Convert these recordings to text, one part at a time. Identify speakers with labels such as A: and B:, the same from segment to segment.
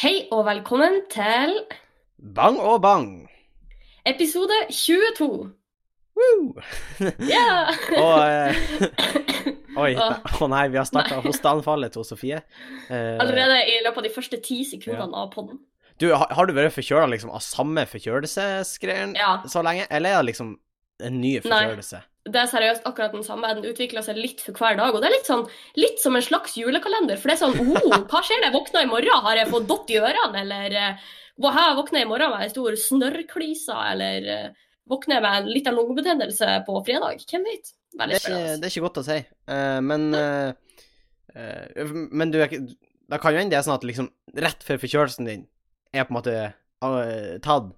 A: Hei og velkommen til
B: Bang og bang!
A: episode 22.
B: Woo!
A: Ja!
B: Og eh, Oi. Å
A: Åh.
B: nei, vi har starta hosteanfallet til Sofie. Eh,
A: Allerede i løpet av de første ti sekundene av podden.
B: du, har, har du vært forkjøla liksom, av samme forkjølelsesgreier
A: Ja.
B: så lenge, eller er det liksom en ny forkjølelse?
A: Det er seriøst akkurat den samme. Den utvikler seg litt for hver dag. Og det er litt, sånn, litt som en slags julekalender. For det er sånn oh, hva skjer når jeg våkner i morgen? Har jeg fått dott i ørene? Eller eh, hva her våkner jeg i morgen med en stor snørrklise? Eller eh, våkner jeg med en liten lungebetennelse på fredag? Hvem vet?
B: Det,
A: Veldig
B: er ikke,
A: spennende.
B: det er ikke godt å si. Eh, men eh, eh, Men du er ikke Da kan jo hende det er sånn at liksom rett før forkjølelsen din er på en måte eh, tatt,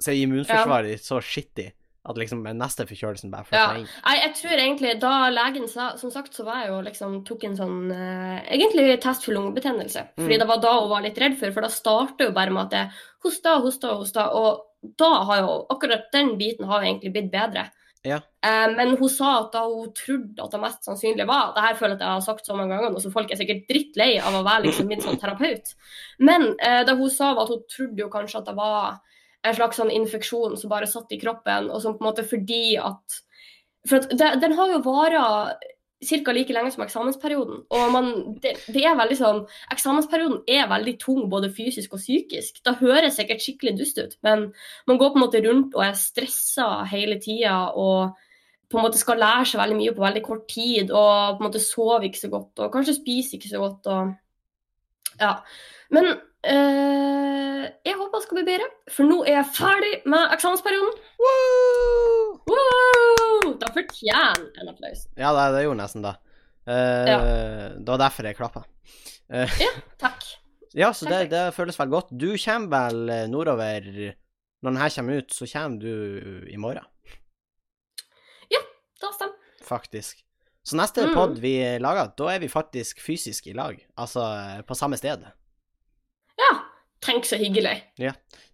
B: så er immunforsvaret ditt så skittig at liksom med neste forkjølelsen bare
A: Ja.
B: flytter inn.
A: Nei, jeg tror egentlig da legen sa Som sagt så var jeg jo liksom Tok en sånn eh, Egentlig test for lungebetennelse. Fordi
B: Mm.
A: det var da hun var litt redd for, for da starter jo bare med at jeg hosta, hosta, hosta. Og da har jo akkurat den biten har jo egentlig blitt bedre.
B: Ja.
A: Eh, men hun sa at da hun trodde at det mest sannsynlig var Det her føler jeg at jeg har sagt så mange ganger nå, så folk er sikkert drittlei av å være liksom min sånn terapeut. Men eh, det hun sa, var at hun trodde jo kanskje at det var en slags sånn infeksjon som bare satt i kroppen, og som på en måte fordi at For at det, den har jo vara ca. like lenge som eksamensperioden. Og man, det, det er veldig sånn Eksamensperioden er veldig tung både fysisk og psykisk. Det høres sikkert skikkelig dust ut, men man går på en måte rundt og er stressa hele tida og på en måte skal lære seg veldig mye på veldig kort tid og på en måte sover ikke så godt og kanskje spiser ikke så godt og Ja. Men eh, jeg håper det skal bli bedre, for nå er jeg ferdig med eksamensperioden.
B: Woo!
A: Woo! Da fortjener jeg en applaus.
B: Ja, det, det gjorde nesten det. Eh, Det var derfor jeg klappa.
A: Takk.
B: Ja, så det,
A: Perfekt.
B: det føles veldig godt. Du kommer vel eh, nordover Når den her kommer ut, så kommer du i morgen,
A: Da stemmer.
B: faktisk. Så neste
A: Mm.
B: pod vi lager, da er vi faktisk fysisk i lag. Altså eh, på samme sted.
A: Ja. Tenk så hyggelig.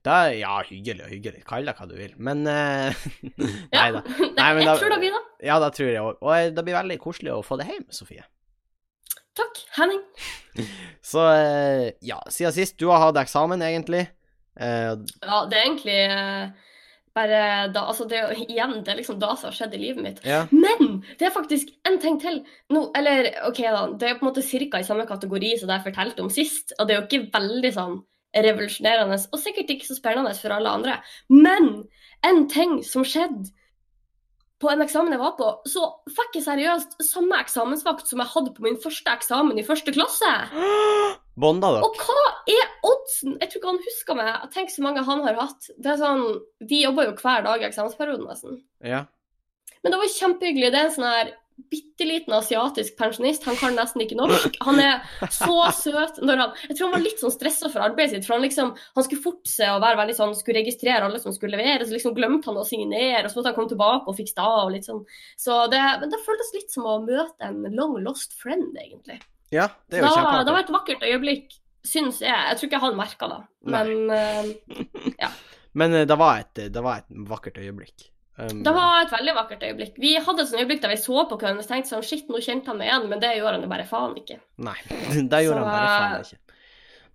B: Da, ja, hyggelig og hyggelig. Kall det hva du vil. Men eh,
A: Ja.
B: Nei da.
A: Det,
B: Nei, men da-
A: jeg tror det blir det.
B: Ja, da tror jeg òg. Og eh, det blir veldig koselig å få det hjem, Sofie.
A: Takk, Henning.
B: Så eh, ja, siden sist du har hatt eksamen, egentlig. Eh,
A: Ja, det er egentlig eh, bare da Altså, det er jo igjen, det er liksom da som har skjedd i livet mitt.
B: ja.
A: Men det er faktisk en ting til. Nå, eller OK, da. Det er på en måte cirka i samme kategori som det jeg fortalte om sist. Og det er jo ikke veldig sånn revolusjonerende, og sikkert ikke så spennende for alle andre. Men en ting som skjedde på en eksamen jeg var på, så fikk jeg seriøst samme eksamensvakt som jeg hadde på min første eksamen i første klasse.
B: Bonda dere.
A: Og hva er oddsen? Jeg tror ikke han husker meg. Tenk så mange han har hatt. Det er sånn, Vi jobber jo hver dag i eksamensperioden, nesten.
B: Ja.
A: Men det var kjempehyggelig. Det er en sånn her bitte liten asiatisk pensjonist. Han kan nesten ikke norsk. Han er så søt når han Jeg tror han var litt sånn stressa for arbeidet sitt, for han liksom Han skulle forte seg å være veldig sånn Skulle registrere alle som skulle levere, så liksom glemte han å signere, og så måtte han komme tilbake og fikse det av og litt sånn. Så det Men det føltes litt som å møte en long lost friend, egentlig.
B: Ja, det er
A: Da-
B: jo kjempeartig.
A: Det var et vakkert øyeblikk, syns jeg. Jeg tror ikke han merka det.
B: Nei.
A: Men eh,
B: Men eh, det var et, det var et vakkert øyeblikk. Um,
A: det var et veldig vakkert øyeblikk. Vi hadde et sånt øyeblikk der vi så på hverandre og tenkte sånn Shit, nå kjente han meg igjen, men det gjør han jo bare faen ikke.
B: Nei, det
A: Så,
B: gjorde han bare faen ikke.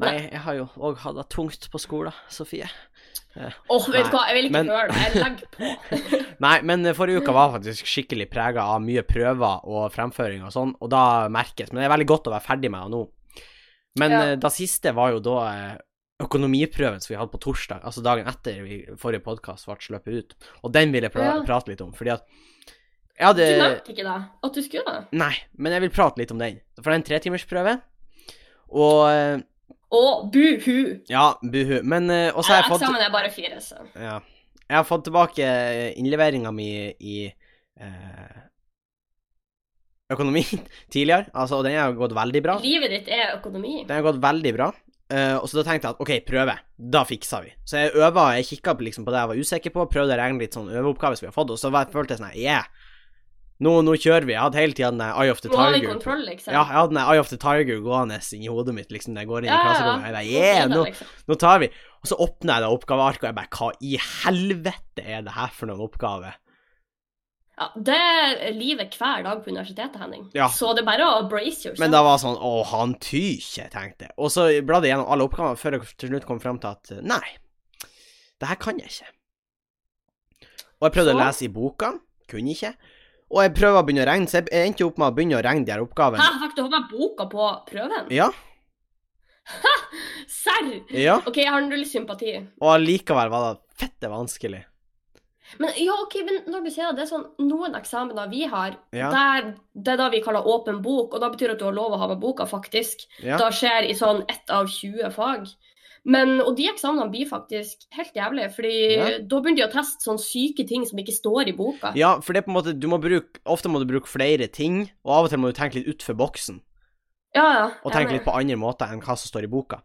B: Nei,
A: nei.
B: jeg har jo òg hatt det tungt på skolen, Sofie.
A: Åh, vet
B: Nei,
A: du hva, jeg vil ikke
B: men-
A: høre det. Jeg legger på.
B: Nei, men eh, forrige uka var faktisk skikkelig prega av mye prøver og fremføring og sånn, og da merkes. Men det er veldig godt å være ferdig med det nå. Men
A: Ja.
B: eh, det siste var jo da eh, økonomiprøven som vi hadde på torsdag, altså dagen etter vi, forrige podkast ble sluppet ut, og den vil jeg pra
A: Ja.
B: prate litt om, fordi at jeg hadde
A: Du nevnte ikke det? At du skulle det?
B: Nei, men jeg vil prate litt om den. For det er en tretimersprøve. Og eh,
A: Å, buhu!
B: Ja, buhu. Men eh, Og så har jeg fått
A: Eksamen er bare fire, så.
B: ja, Jeg har fått tilbake eh, innleveringa mi i eh, økonomi tidligere, altså, og den har gått veldig bra.
A: Livet ditt er økonomi.
B: Den har gått veldig bra. Eh, og så da tenkte jeg at OK, prøve. Da fikser vi. Så jeg øva, jeg kikka på, liksom, på det jeg var usikker på, prøvde å regne litt sånn øveoppgaver som vi har fått, og så var, følte jeg sånn her, Yeah! Nå, nå kjører vi. Jeg hadde hele tida den der Eye of the
A: Nå har vi
B: Tiger.
A: kontroll, liksom.
B: Ja, jeg hadde den der Eye of the Tiger gående inni hodet mitt liksom, når jeg går inn i klasserommet. Jeg
A: Nå
B: bare, yeah,
A: blir det,
B: nå,
A: liksom.
B: nå tar vi. Og så åpner jeg det oppgavearket, og jeg bare Hva i helvete er det her for noen oppgave?
A: Ja, det er livet hver dag på universitetet, Henning.
B: Ja.
A: Så det er bare å brace yourself.
B: Men da var det sånn Å, han tyker, tenkte jeg. Og så bladde jeg gjennom alle oppgavene før jeg til slutt kom fram til at nei, det her kan jeg ikke. Og jeg
A: Så?
B: prøvde å lese i boka, kunne ikke. Og jeg prøvde å begynne å regne, så jeg- jeg endte jo opp med å begynne å regne de her
A: Hæ,
B: oppgavene.
A: fikk du ha med boka på prøven?
B: Ja,
A: Serr?
B: ja.
A: OK, jeg har null sympati.
B: Og allikevel var det fette vanskelig.
A: Men ja, ok, men når du sier det, det er sånn noen eksamener vi har,
B: Ja.
A: der, det er da vi kaller åpen bok, og da betyr det at du har lov å ha med boka, faktisk.
B: Ja.
A: Da skjer i sånn ett av 20 fag. Men, og de eksamenene blir faktisk helt jævlige, fordi
B: Ja.
A: da begynner de å teste sånne syke ting som ikke står i boka.
B: ja, for det er på en måte Du må bruke Ofte må du bruke flere ting, og av og til må du tenke litt utfor boksen.
A: ja, ja,
B: og
A: jeg
B: tenke
A: er
B: litt på andre måter enn hva som står i boka.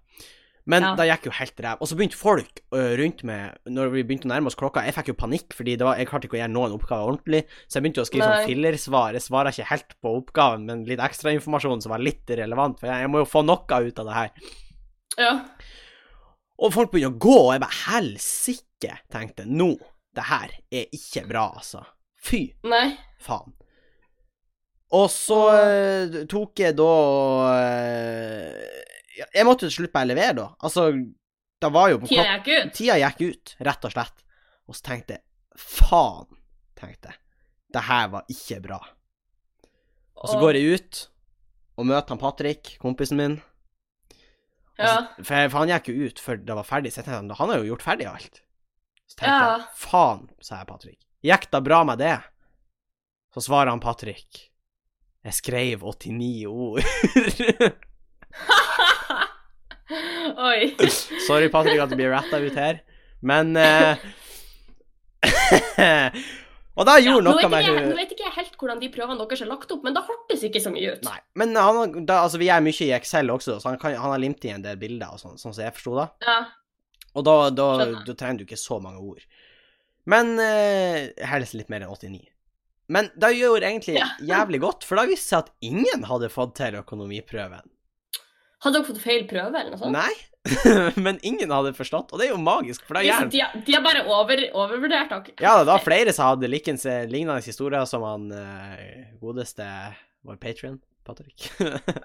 B: Men
A: Ja.
B: da gikk jo helt ræv. Og så begynte folk ø, rundt meg Når vi begynte å nærme oss klokka, jeg fikk jo panikk, fordi det var, jeg klarte ikke å gjøre noen oppgaver ordentlig. Så jeg begynte å skrive
A: Nei.
B: sånn fillersvar. Jeg svarer ikke helt på oppgaven, men litt ekstrainformasjon som var litt relevant, for jeg, jeg må jo få noe ut av det her.
A: Ja.
B: Og folk begynner å gå, og jeg bare helsike, tenkte jeg, nå. Det her er ikke bra, altså. Fy
A: Nei.
B: faen. Og så eh, tok jeg da eh, ja, Jeg måtte til slutt bare levere, da. Altså, det var jo på
A: Tida
B: klok-
A: gikk ut.
B: Tida gikk ut, rett og slett. Og så tenkte jeg Faen, tenkte jeg. Det her var ikke bra. Og så går jeg ut og møter han Patrick, kompisen min.
A: Ja.
B: Og så- Altså, For, for han gikk jo ut før det var ferdig, så jeg tenkte han har jo gjort ferdig alt. Så tenkte
A: Ja.
B: jeg faen, sa jeg Patrick. Gikk det bra med det? Så svarer han Patrick. Jeg skrev 89 ord.
A: Oi.
B: Sorry, Patrick, at det blir ratta ut her, men eh, Og da
A: Ja,
B: gjorde
A: nå,
B: noe
A: vet
B: med
A: ikke, jeg- nå
B: hun
A: vet ikke jeg helt hvordan de prøvene deres er lagt opp, men det hørtes ikke så mye ut.
B: Nei. Men han, da, altså, vi er mye i Excel også, så han, kan, han har limt i en del bilder og sånn, sånn som jeg forsto det.
A: Ja.
B: Og da, da,
A: Skjønner.
B: da trenger du ikke så mange ord. Men eh, helst litt mer enn 89. Men det gjorde egentlig
A: Ja.
B: jævlig godt, for da viste det seg at ingen hadde fått til økonomiprøven.
A: Hadde dere fått feil prøve, eller noe sånt?
B: Nei, men ingen hadde forstått, og det er jo magisk, for da
A: Hvis
B: gjør
A: Liksom, De, de har bare over, overvurdert dere.
B: Ja, det var flere som hadde likens eh, lignende historier som han eh, godeste vår patron, Patrick.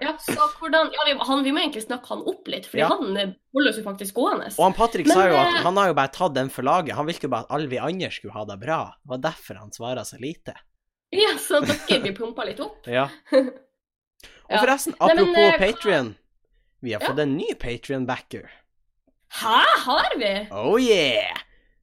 A: Ja, så hvordan, ja vi, han, vi må egentlig snakke han opp litt, fordi
B: Ja.
A: han eh, holder oss jo faktisk gående.
B: og han Patrick
A: Men,
B: sa jo at
A: eh,
B: han har jo bare tatt den for laget, han ville jo bare at alle vi andre skulle ha det bra. Det var derfor han svarer så lite.
A: Ja, så dere blir pumpa litt opp.
B: Ja. Og
A: Ja.
B: forresten,
A: Nei, men,
B: apropos
A: eh, hva-
B: Patrion. Vi har
A: Ja.
B: fått en ny Patrion-backer.
A: Hæ, har vi?
B: Oh yeah!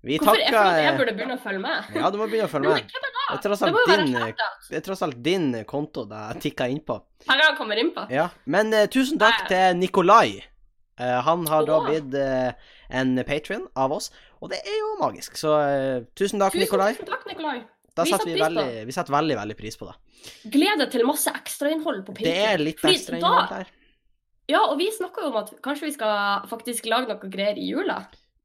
B: Vi
A: Hvorfor jeg føler at jeg
B: takker
A: burde begynne å følge med?
B: Ja, du må begynne å følge
A: Men
B: med.
A: hvem er det?
B: Det er tross
A: Det må
B: alt
A: jo være
B: din, eh,
A: Shoutout.
B: det er tross alt din eh, konto det tikka innpå.
A: Her han kommer inn på.
B: Ja. Men eh, tusen takk
A: Nei.
B: til Nikolai. Eh, han har da
A: Åh.
B: blitt eh, en Patrion av oss, og det er jo magisk. Så eh, tusen takk,
A: Tusen,
B: Nikolai.
A: tusen takk, Nikolai.
B: Da
A: vi setter
B: setter vi,
A: pris på
B: veldig, vi setter veldig, veldig pris på det.
A: Gled deg til masse ekstrainnhold på Patreon.
B: Det er litt
A: Fordi
B: ekstra
A: da-
B: innhold der.
A: Ja, og vi snakker jo om at kanskje vi skal faktisk lage noe greier i jula.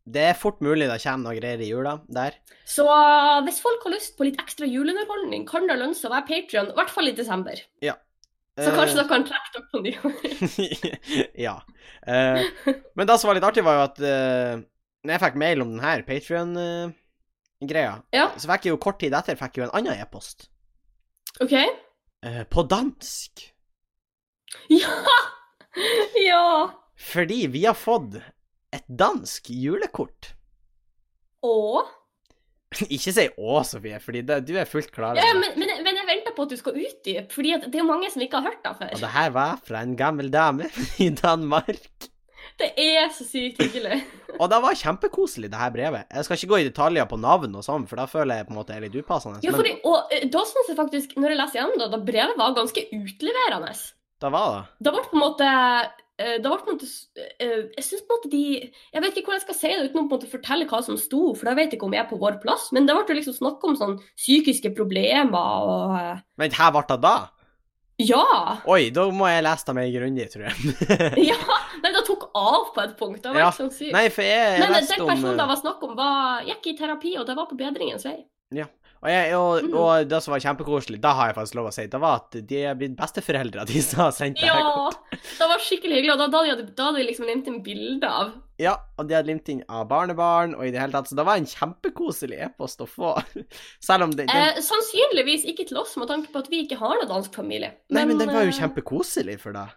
B: Det er fort mulig det kommer noe greier i jula der.
A: Så eh, hvis folk har lyst på litt ekstra juleunderholdning, kan det lønne seg å være Patrion, i hvert fall i desember. Så
B: Eh,
A: kanskje dere kan trekke dere på nyåret.
B: ja. Eh, men det som var litt artig, var jo at eh, når jeg fikk mail om den her Patrion-greia,
A: Ja,
B: så fikk jeg jo kort tid etter fikk jeg jo en annen e-post.
A: OK?
B: eh, på dansk.
A: Ja! Ja!
B: Fordi vi har fått et dansk julekort.
A: Og
B: Ikke si 'å, Sofie', fordi det, du er fullt klar
A: ja,
B: over det.
A: men, men, men jeg venter på at du skal utdype, Fordi at det er jo mange som ikke har hørt deg
B: Og
A: før.
B: det her var fra en gammel dame i Danmark.
A: Det er så sykt hyggelig.
B: Og det var kjempekoselig, det her brevet. Jeg skal ikke gå i detaljer på navn og sånn, for da føler jeg på en måte er litt upassende.
A: Ja, fordi, og eh, da syns jeg faktisk, når jeg leser gjennom det, da brevet var ganske utleverende.
B: Men det var det.
A: Det ble på en måte eh, det ble på en måte, s- eh, Jeg synes på en måte de Jeg vet ikke hvordan jeg skal si det uten å på en måte fortelle hva som sto, for da vet jeg ikke om jeg er på vår plass, men det ble jo liksom snakk om sånn psykiske problemer og eh,
B: Vent, her ble det da?
A: Ja!
B: Oi, da må jeg lese det mer grundig, tror jeg.
A: Ja, Nei, det tok av på et punkt. Det var
B: Ja.
A: ikke sånn sykt.
B: Nei, for jeg,
A: Men
B: jeg
A: den
B: leste om
A: personen det
B: eh,
A: var snakk om, var, gikk i terapi, og det var på bedringens vei.
B: Og, jeg, og,
A: Mm.
B: og det som var kjempekoselig, da har jeg faktisk lov å si, det var at de er blitt besteforeldre, de som har sendt det her
A: Ja! Det var skikkelig hyggelig. Og da, da, hadde, jeg- da hadde jeg liksom limt inn bilde av.
B: Ja, og de hadde limt inn av barnebarn og i det hele tatt, så det var en kjempekoselig e-post å få. Selv om det, den,
A: Eh, sannsynligvis ikke til oss, med tanke på at vi ikke har noen dansk familie.
B: Nei, men den var jo
A: eh,
B: kjempekoselig for deg,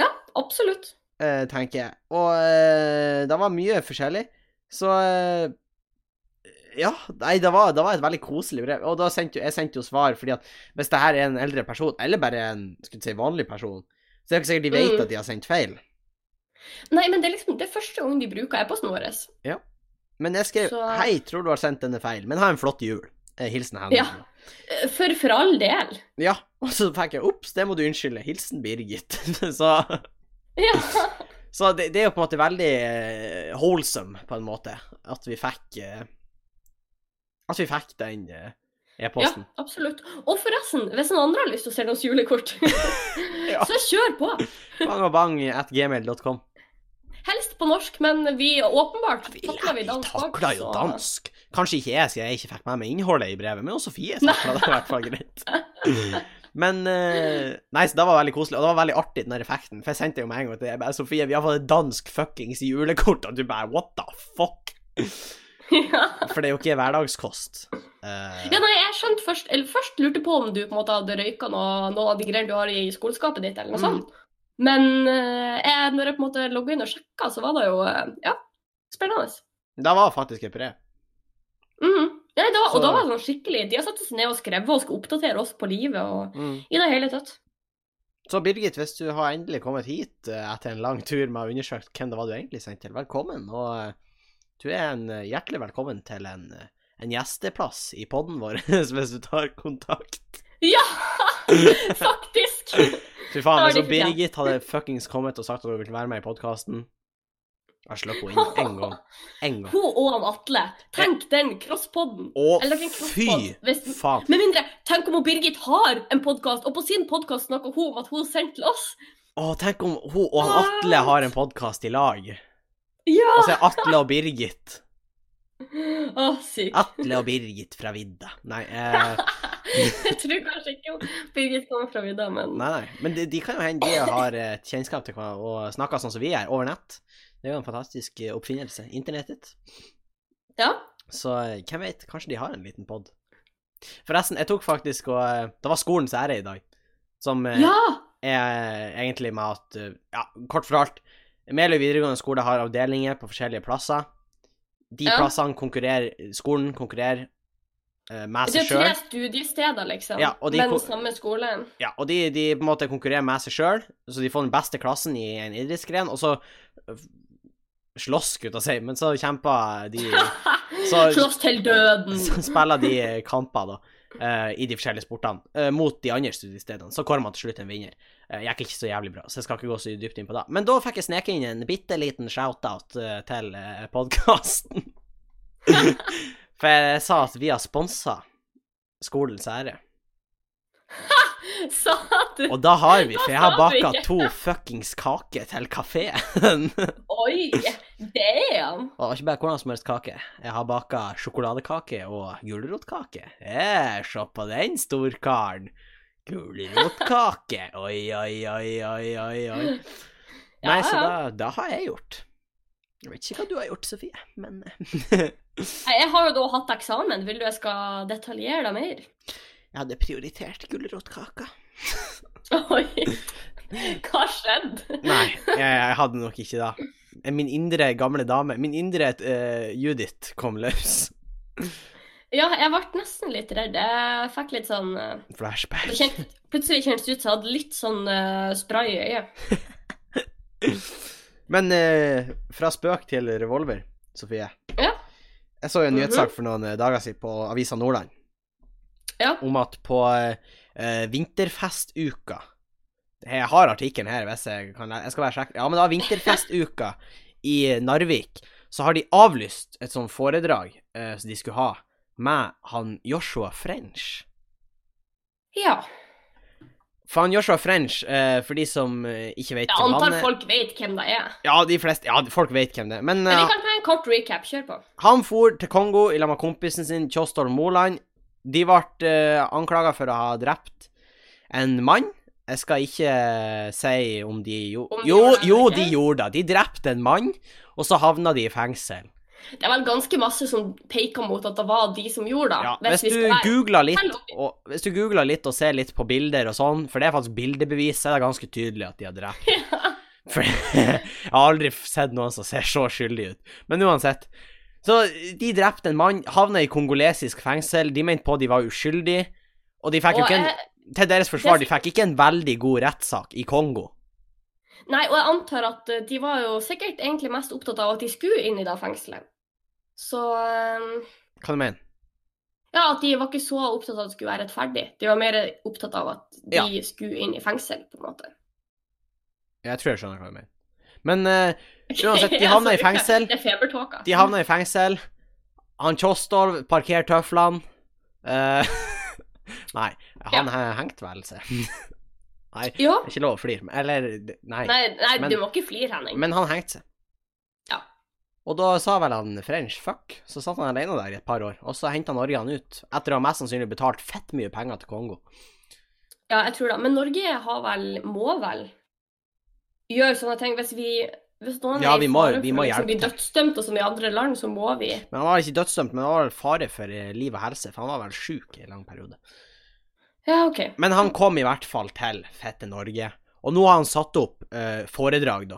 A: Ja, absolutt.
B: eh, tenker jeg. Og eh, det var mye forskjellig, så eh, Ja, nei, det var, det var et veldig koselig brev. Og da sendte jo, jeg sendte jo svar, fordi at hvis det her er en eldre person, eller bare en skulle jeg si, vanlig person, så er det ikke sikkert de vet
A: Mm.
B: at de har sendt feil.
A: Nei, men det er liksom det første gang de bruker e-posten vår.
B: Men jeg skrev
A: Så-
B: 'Hei, tror du har sendt denne feil, men ha en flott jul'. Eh, Hilsen Henning.
A: Ja. Eh, For for all del.
B: Ja, og så fikk jeg Ops, det må du unnskylde. Hilsen Birgit. så
A: Ja.
B: så det, det er jo på en måte veldig eh, wholesome, på en måte, at vi fikk eh, At vi fikk den eh,
A: ja,
B: e-posten.
A: absolutt. Og forresten, hvis noen andre har lyst til å selge oss julekort,
B: Ja.
A: så kjør på.
B: Bang og bang at gmail.com.
A: Helst på norsk, men vi åpenbart takler vi
B: Jeg
A: dansk. også,
B: takla jo
A: så-
B: dansk. Kanskje ikke jeg, siden jeg ikke fikk med meg innholdet i brevet, men også Sofie takla det i hvert fall greit. Men eh, Nei, så det var veldig koselig, og det var veldig artig, den der effekten. For jeg sendte jo med en gang til deg, jeg bare, Sofie, vi har fått et dansk fuckings julekort, og du bare what the fuck?
A: Ja.
B: For det er jo ikke hverdagskost. Eh,
A: Ja, nei, jeg skjønte først Eller først lurte på om du på en måte hadde røyka noe, noe av de greiene du har i skoleskapet ditt, eller noe
B: Mm.
A: sånt. Men eh, jeg, når jeg på en måte logga inn og sjekka, så var det jo eh, Ja, spennende.
B: det var faktisk et brev.
A: Mhm. Nei, da,
B: Så-
A: og da var det sånn skikkelig De har satt seg ned og skrevet og skal oppdatere oss på livet og i det hele tatt.
B: Så Birgit, hvis du har endelig kommet hit eh, etter en lang tur med å ha undersøkt hvem det var du egentlig sendte til, velkommen. Og eh, du er en eh, hjertelig velkommen til en, eh, en gjesteplass i podden vår hvis du tar kontakt.
A: Ja! Faktisk!
B: Fy faen,
A: Da har
B: hvis
A: de fortjent.
B: hun Birgit hadde fuckings kommet og sagt at hun ville være med i podkasten Jeg slapp henne inn en gang. En gang.
A: Hun og han Atle. Tenk den crosspoden.
B: Å,
A: Eller ikke en crosspod.
B: fy
A: Hvis,
B: faen.
A: med mindre Tenk om hun Birgit har en podkast, og på sin podkast snakker hun om at hun sendte til oss.
B: Å, tenk om hun og han Atle har en podkast i lag.
A: Ja!
B: Og så er Atle og Birgit.
A: Å, sykt.
B: Atle og Birgit fra vidda. Nei, eh,
A: Jeg tror kanskje ikke Birgit kommer fra vidda, men
B: nei, nei. Men de, de kan jo hende de har et kjennskap til hverandre og snakker sånn som vi gjør, over nett. Det er jo en fantastisk eh, oppfinnelse. Internettet.
A: Ja.
B: Så eh, hvem vet, kanskje de har en liten pod. Forresten, jeg tok faktisk og eh, Det var skolens ære i dag, som eh,
A: Ja!
B: er egentlig med at eh, Ja, kort fortalt. Meløy videregående skole har avdelinger på forskjellige plasser. De
A: Ja.
B: plassene konkurrerer Skolen konkurrerer eh, med
A: Det
B: seg
A: er tre
B: sjøl.
A: studiesteder, liksom,
B: Ja, og de
A: men
B: ko-
A: samme skole.
B: Ja, og de, de på en måte konkurrerer med seg sjøl, så de får den beste klassen i en idrettsgren, og så øh, slåss, skulle jeg til å si, men så kjemper de Så-
A: Slåss til døden.
B: Så spiller de kamper, da, eh, i de forskjellige sportene, eh, mot de andre studiestedene. Så kårer man til slutt en vinner. Eh, Jeg gikk ikke så jævlig bra, så jeg skal ikke gå så dypt inn på det. Men da fikk jeg sneke inn en bitte liten shout-out eh, til podkasten. For jeg sa at vi har sponsa skolens ære.
A: Sa du
B: Og da har vi, for jeg har
A: Da sa du
B: baka to fuckings kaker til kafeen.
A: Oi! Damn!
B: Og ikke bare hvordan som helst kake. Jeg har baka sjokoladekake og gulrotkake. Eh, se på den storkaren. Gulrotkake. Oi, oi, oi, oi, oi, oi.
A: Ja,
B: Nei, så
A: ja.
B: da, da har jeg gjort. Jeg vet ikke hva du har gjort, Sofie, men eh,
A: Nei, Jeg har jo da hatt eksamen. Vil du jeg skal detaljere deg mer?
B: jeg hadde prioritert gulrotkaka.
A: Oi! Hva skjedde?
B: Nei, jeg, jeg hadde nok ikke det. Min indre gamle dame, min indre eh, Judith, kom løs.
A: Ja, jeg ble nesten litt redd. Jeg fikk litt sånn eh,
B: Flashback.
A: det kjent- Plutselig kjentes det ut som jeg hadde litt sånn eh, spray i øyet.
B: Men eh, fra spøk til revolver, Sofie.
A: Ja. Mhm.
B: Jeg så jo en nyhetssak for noen eh, dager siden på Avisa Nordland
A: Ja.
B: om at på eh, vinterfestuka Jeg har artikkelen her, hvis jeg kan le- Jeg skal være sjekk. Ja, men det var vinterfestuka i Narvik. Så har de avlyst et sånt foredrag eh, som de skulle ha med han Joshua French.
A: Ja.
B: For han Joshua French, eh, for de som eh, ikke vet
A: Jeg
B: hvem han
A: antar
B: er-
A: folk vet hvem det er.
B: Ja, de fleste Ja, folk vet hvem det er. Men
A: Men
B: eh,
A: vi kan ta en kort recap. Kjør på.
B: Han for til Kongo i lag med kompisen sin Kjostolv Moland. De ble anklaga for å ha drept en mann. Jeg skal ikke eh, si om de gjorde
A: Om de
B: Jo,
A: gjorde det,
B: jo,
A: eller
B: de
A: ikke?
B: gjorde det. De drepte en mann, og så havna de i fengsel.
A: Det er vel ganske masse som peker mot at det var de som gjorde det.
B: Ja,
A: hvis
B: hvis
A: vi
B: du
A: skal være-
B: googler
A: Selv
B: litt
A: om-
B: og, Hvis du googler litt og ser litt på bilder og sånn, for det er faktisk bildebevis, så er det ganske tydelig at de har drept. For jeg har aldri sett noen som ser så skyldig ut. Men uansett. Så de drepte en mann, havna i kongolesisk fengsel, de mente på de var uskyldige, og de fikk jo
A: og
B: ikke en
A: jeg,
B: Til deres forsvar, de
A: Det-
B: fikk ikke en veldig god rettssak i Kongo.
A: Nei, og jeg antar at eh, de var jo sikkert egentlig mest opptatt av at de skulle inn i det fengselet. Så eh,
B: Hva du mener
A: Ja, at de var ikke så opptatt av at det skulle være rettferdig. De var mer opptatt av at de skulle inn i fengsel, på en måte.
B: Jeg tror jeg skjønner hva du mener. Men eh, Uansett, de
A: Ja,
B: havna i
A: så-
B: fengsel.
A: Det er febertåka.
B: de havna i fengsel. Han Tjostolv parkerer tøflene. Eh, nei, han he- hengte vel seg. Det
A: Ja.
B: er ikke lov å flire, men Eller, det- nei.
A: Nei, nei
B: Men-
A: du må ikke flire, Henning.
B: Men han hengte seg.
A: Ja.
B: Og da sa vel han French fuck, så satt han alene der i et par år. Og så henta Norge han ut, etter å ha mest sannsynlig betalt fett mye penger til Kongo.
A: Ja, jeg tror det. Men Norge har vel Må vel gjøre sånne ting hvis vi hvis noen
B: Ja,
A: er i
B: vi må-
A: fare
B: vi
A: for å
B: må
A: liksom
B: hjelpe
A: bli
B: til.
A: dødsdømt og som i andre land, så må vi.
B: Men han var ikke dødsdømt, men han var vel fare for eh, liv og helse, for han var vel sjuk i en lang periode.
A: Ja, OK.
B: Men han kom i hvert fall til Fette Norge. Og nå har han satt opp eh, foredrag, da.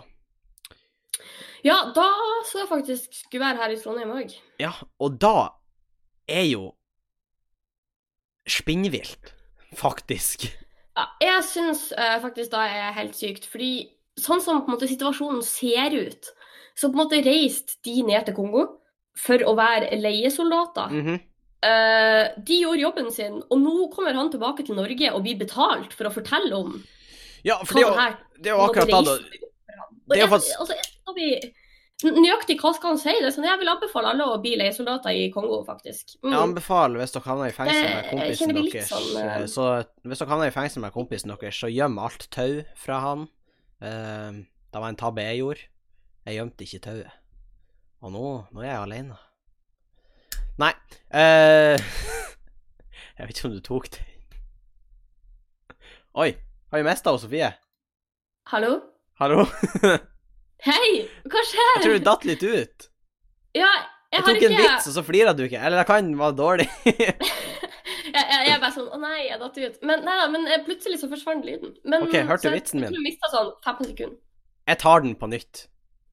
A: Ja, da så jeg faktisk skulle være her i Trondheim òg.
B: Ja, og da er jo spinnvilt, faktisk.
A: Ja, jeg syns eh, faktisk det er helt sykt. Fordi sånn som på en måte, situasjonen ser ut, så på en måte reiste de ned til Kongo for å være leiesoldater.
B: Mhm.
A: Eh, de gjorde jobben sin, og nå kommer han tilbake til Norge og blir betalt for å fortelle om
B: Ja, for det er
A: hva det Sånn
B: jo,
A: her
B: det er jo akkurat da, da.
A: Det
B: er jo
A: er
B: faktisk-
A: altså, jeg skal bli- Nøyaktig hva skal han si? Det er sånn, jeg vil anbefale alle å bli leiesoldater i Kongo, faktisk. Mm.
B: Jeg anbefaler, hvis dere havner i fengsel med
A: Jeg- jeg
B: kompisen
A: kjenner det litt
B: deres
A: sånn, eh.
B: eh, Så hvis dere havner i fengsel med kompisen deres, så gjem alt tau fra han. Eh, det var en tabbe jeg gjorde. Jeg gjemte ikke tauet. Og nå, nå er jeg alene. Nei eh, Jeg vet ikke om du tok det. Oi, har vi mista Sofie?
A: Hallo?
B: Hallo?
A: Hei, hva skjer?
B: Jeg tror du datt litt ut.
A: Ja, jeg,
B: Jeg
A: har
B: tok en
A: ikke
B: vits, og så flira du ikke. Eller det kan være dårlig.
A: jeg, jeg, jeg er bare sånn Å nei, jeg datt ut. Men, nei, da, men eh, plutselig så forsvant lyden. Men,
B: Ok, hørte du
A: så jeg-
B: vitsen
A: Jeg
B: min?
A: tror jeg mista sånn 15 sekunder.
B: Jeg tar den på nytt.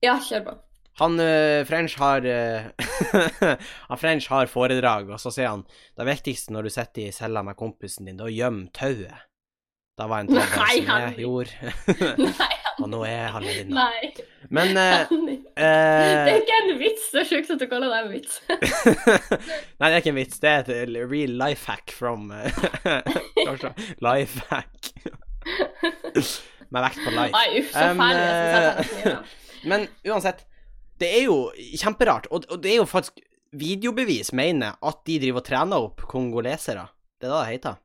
A: Ja, kjør på.
B: Han eh, French har eh, Han French har foredrag, og så sier han Det viktigste når du sitter i cella med kompisen din, det er å gjemme tauet. Det var en tabbe
A: Nei,
B: som jeg
A: Henrik.
B: gjorde,
A: Nei,
B: og nå er jeg alene.
A: nei.
B: Men eh,
A: Henning. Det er
B: eh,
A: ikke en vits. Det er sjukt at du kaller det en vits.
B: Nei, det er ikke en vits. Det er et eh, real life hack from eh, Life hack. Med vekt på life.
A: Nei, uff, så
B: Um,
A: fæl jeg er som setter meg ned.
B: Men uansett, det er jo kjemperart, og, og det er jo faktisk videobevis mener at de driver og trener opp kongolesere. Det er det det heter.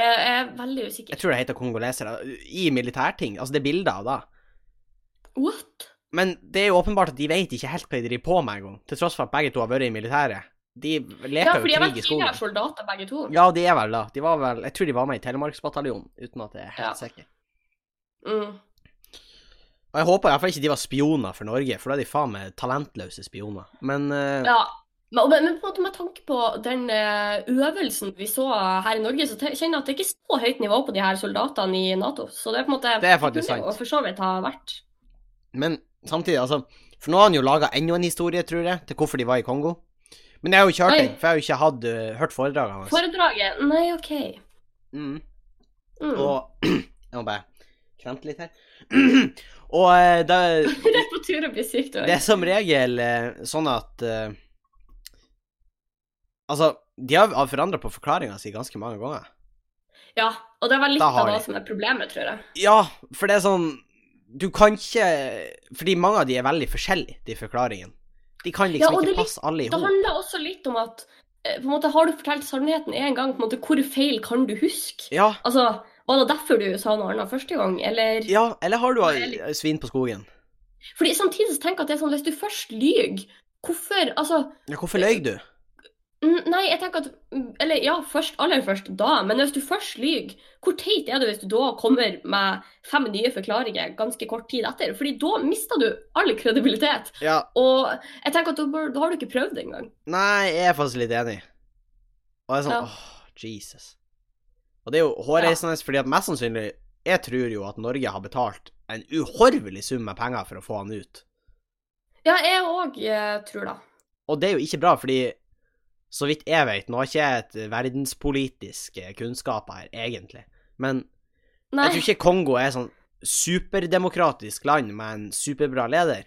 A: Jeg er veldig usikker.
B: Jeg tror det heter kongolesere i militærting. Altså, det er bilder av det.
A: What?
B: Men det er jo åpenbart at de vet ikke helt hva de driver på med engang, til tross for at begge to har vært i militæret. De
A: Ja,
B: leker
A: for de
B: jo
A: har
B: krig
A: vært tidligere
B: i skogen.
A: soldater, begge to.
B: Ja, de er vel da. De var vel, jeg tror de var med i Telemarksbataljonen, uten at jeg er helt
A: Ja.
B: sikker.
A: Mm.
B: Og jeg håper i hvert fall ikke de var spioner for Norge, for da er de faen meg talentløse spioner. Men eh,
A: ja. Men, men, men på en måte med tanke på den eh, øvelsen vi så her i Norge, så te- kjenner jeg at det ikke er så høyt nivå på de her soldatene i Nato. Så det er på en måte
B: Det er faktisk
A: kunne jo
B: sant.
A: for så vidt ha vært.
B: Men samtidig, altså For nå har han jo laga enda en historie, tror jeg, til hvorfor de var i Kongo. Men jeg har jo ikke hørt
A: Oi.
B: den, for jeg har jo ikke hatt, eh, hørt foredraget hans.
A: Foredraget Nei, OK.
B: Mm.
A: Mm.
B: Og Jeg må bare kremte litt her. og eh, det,
A: Det er på tur å bli syk, du.
B: det er som regel eh, sånn at eh, Altså, de har forandra på forklaringa si ganske mange ganger.
A: Ja, og det er vel litt
B: Da har
A: av det
B: de.
A: som er problemet, tror jeg.
B: Ja, for det er sånn Du kan ikke Fordi mange av de er veldig forskjellige, de forklaringene. De kan
A: Ja,
B: liksom
A: og det er
B: ikke
A: litt-
B: passe alle i
A: Det
B: hop.
A: handler også litt om at eh, på en måte, Har du fortalt sannheten én gang, på en måte, hvor feil kan du huske?
B: Ja,
A: Altså, var det derfor du sa noe annet første gang, eller?
B: Ja, eller har du
A: Det er
B: eh, svin på skogen?
A: Fordi samtidig så tenker jeg at det er sånn, hvis du først lyger, hvorfor, altså,
B: Ja, hvorfor løy du?
A: Mm, Nei, jeg tenker at mm, Eller ja, først, aller først da. Men hvis du først lyver, hvor teit er det hvis du da kommer med fem nye forklaringer ganske kort tid etter? Fordi da mister du all kredibilitet.
B: Ja,
A: Og jeg tenker at da, bør, da har du ikke prøvd det engang.
B: Nei, jeg er faktisk litt enig. Og det er sånn
A: Ja.
B: åh, Jesus. Og det er jo hårreisende, fordi at mest sannsynlig Jeg tror jo at Norge har betalt en uhorvelig sum med penger for å få han ut.
A: Ja, jeg òg eh, tror det.
B: Og det er jo ikke bra, fordi så vidt jeg vet Nå har ikke jeg et verdenspolitisk eh, kunnskap her, egentlig. Men
A: Nei.
B: jeg tror ikke Kongo er et sånn superdemokratisk land med en superbra leder.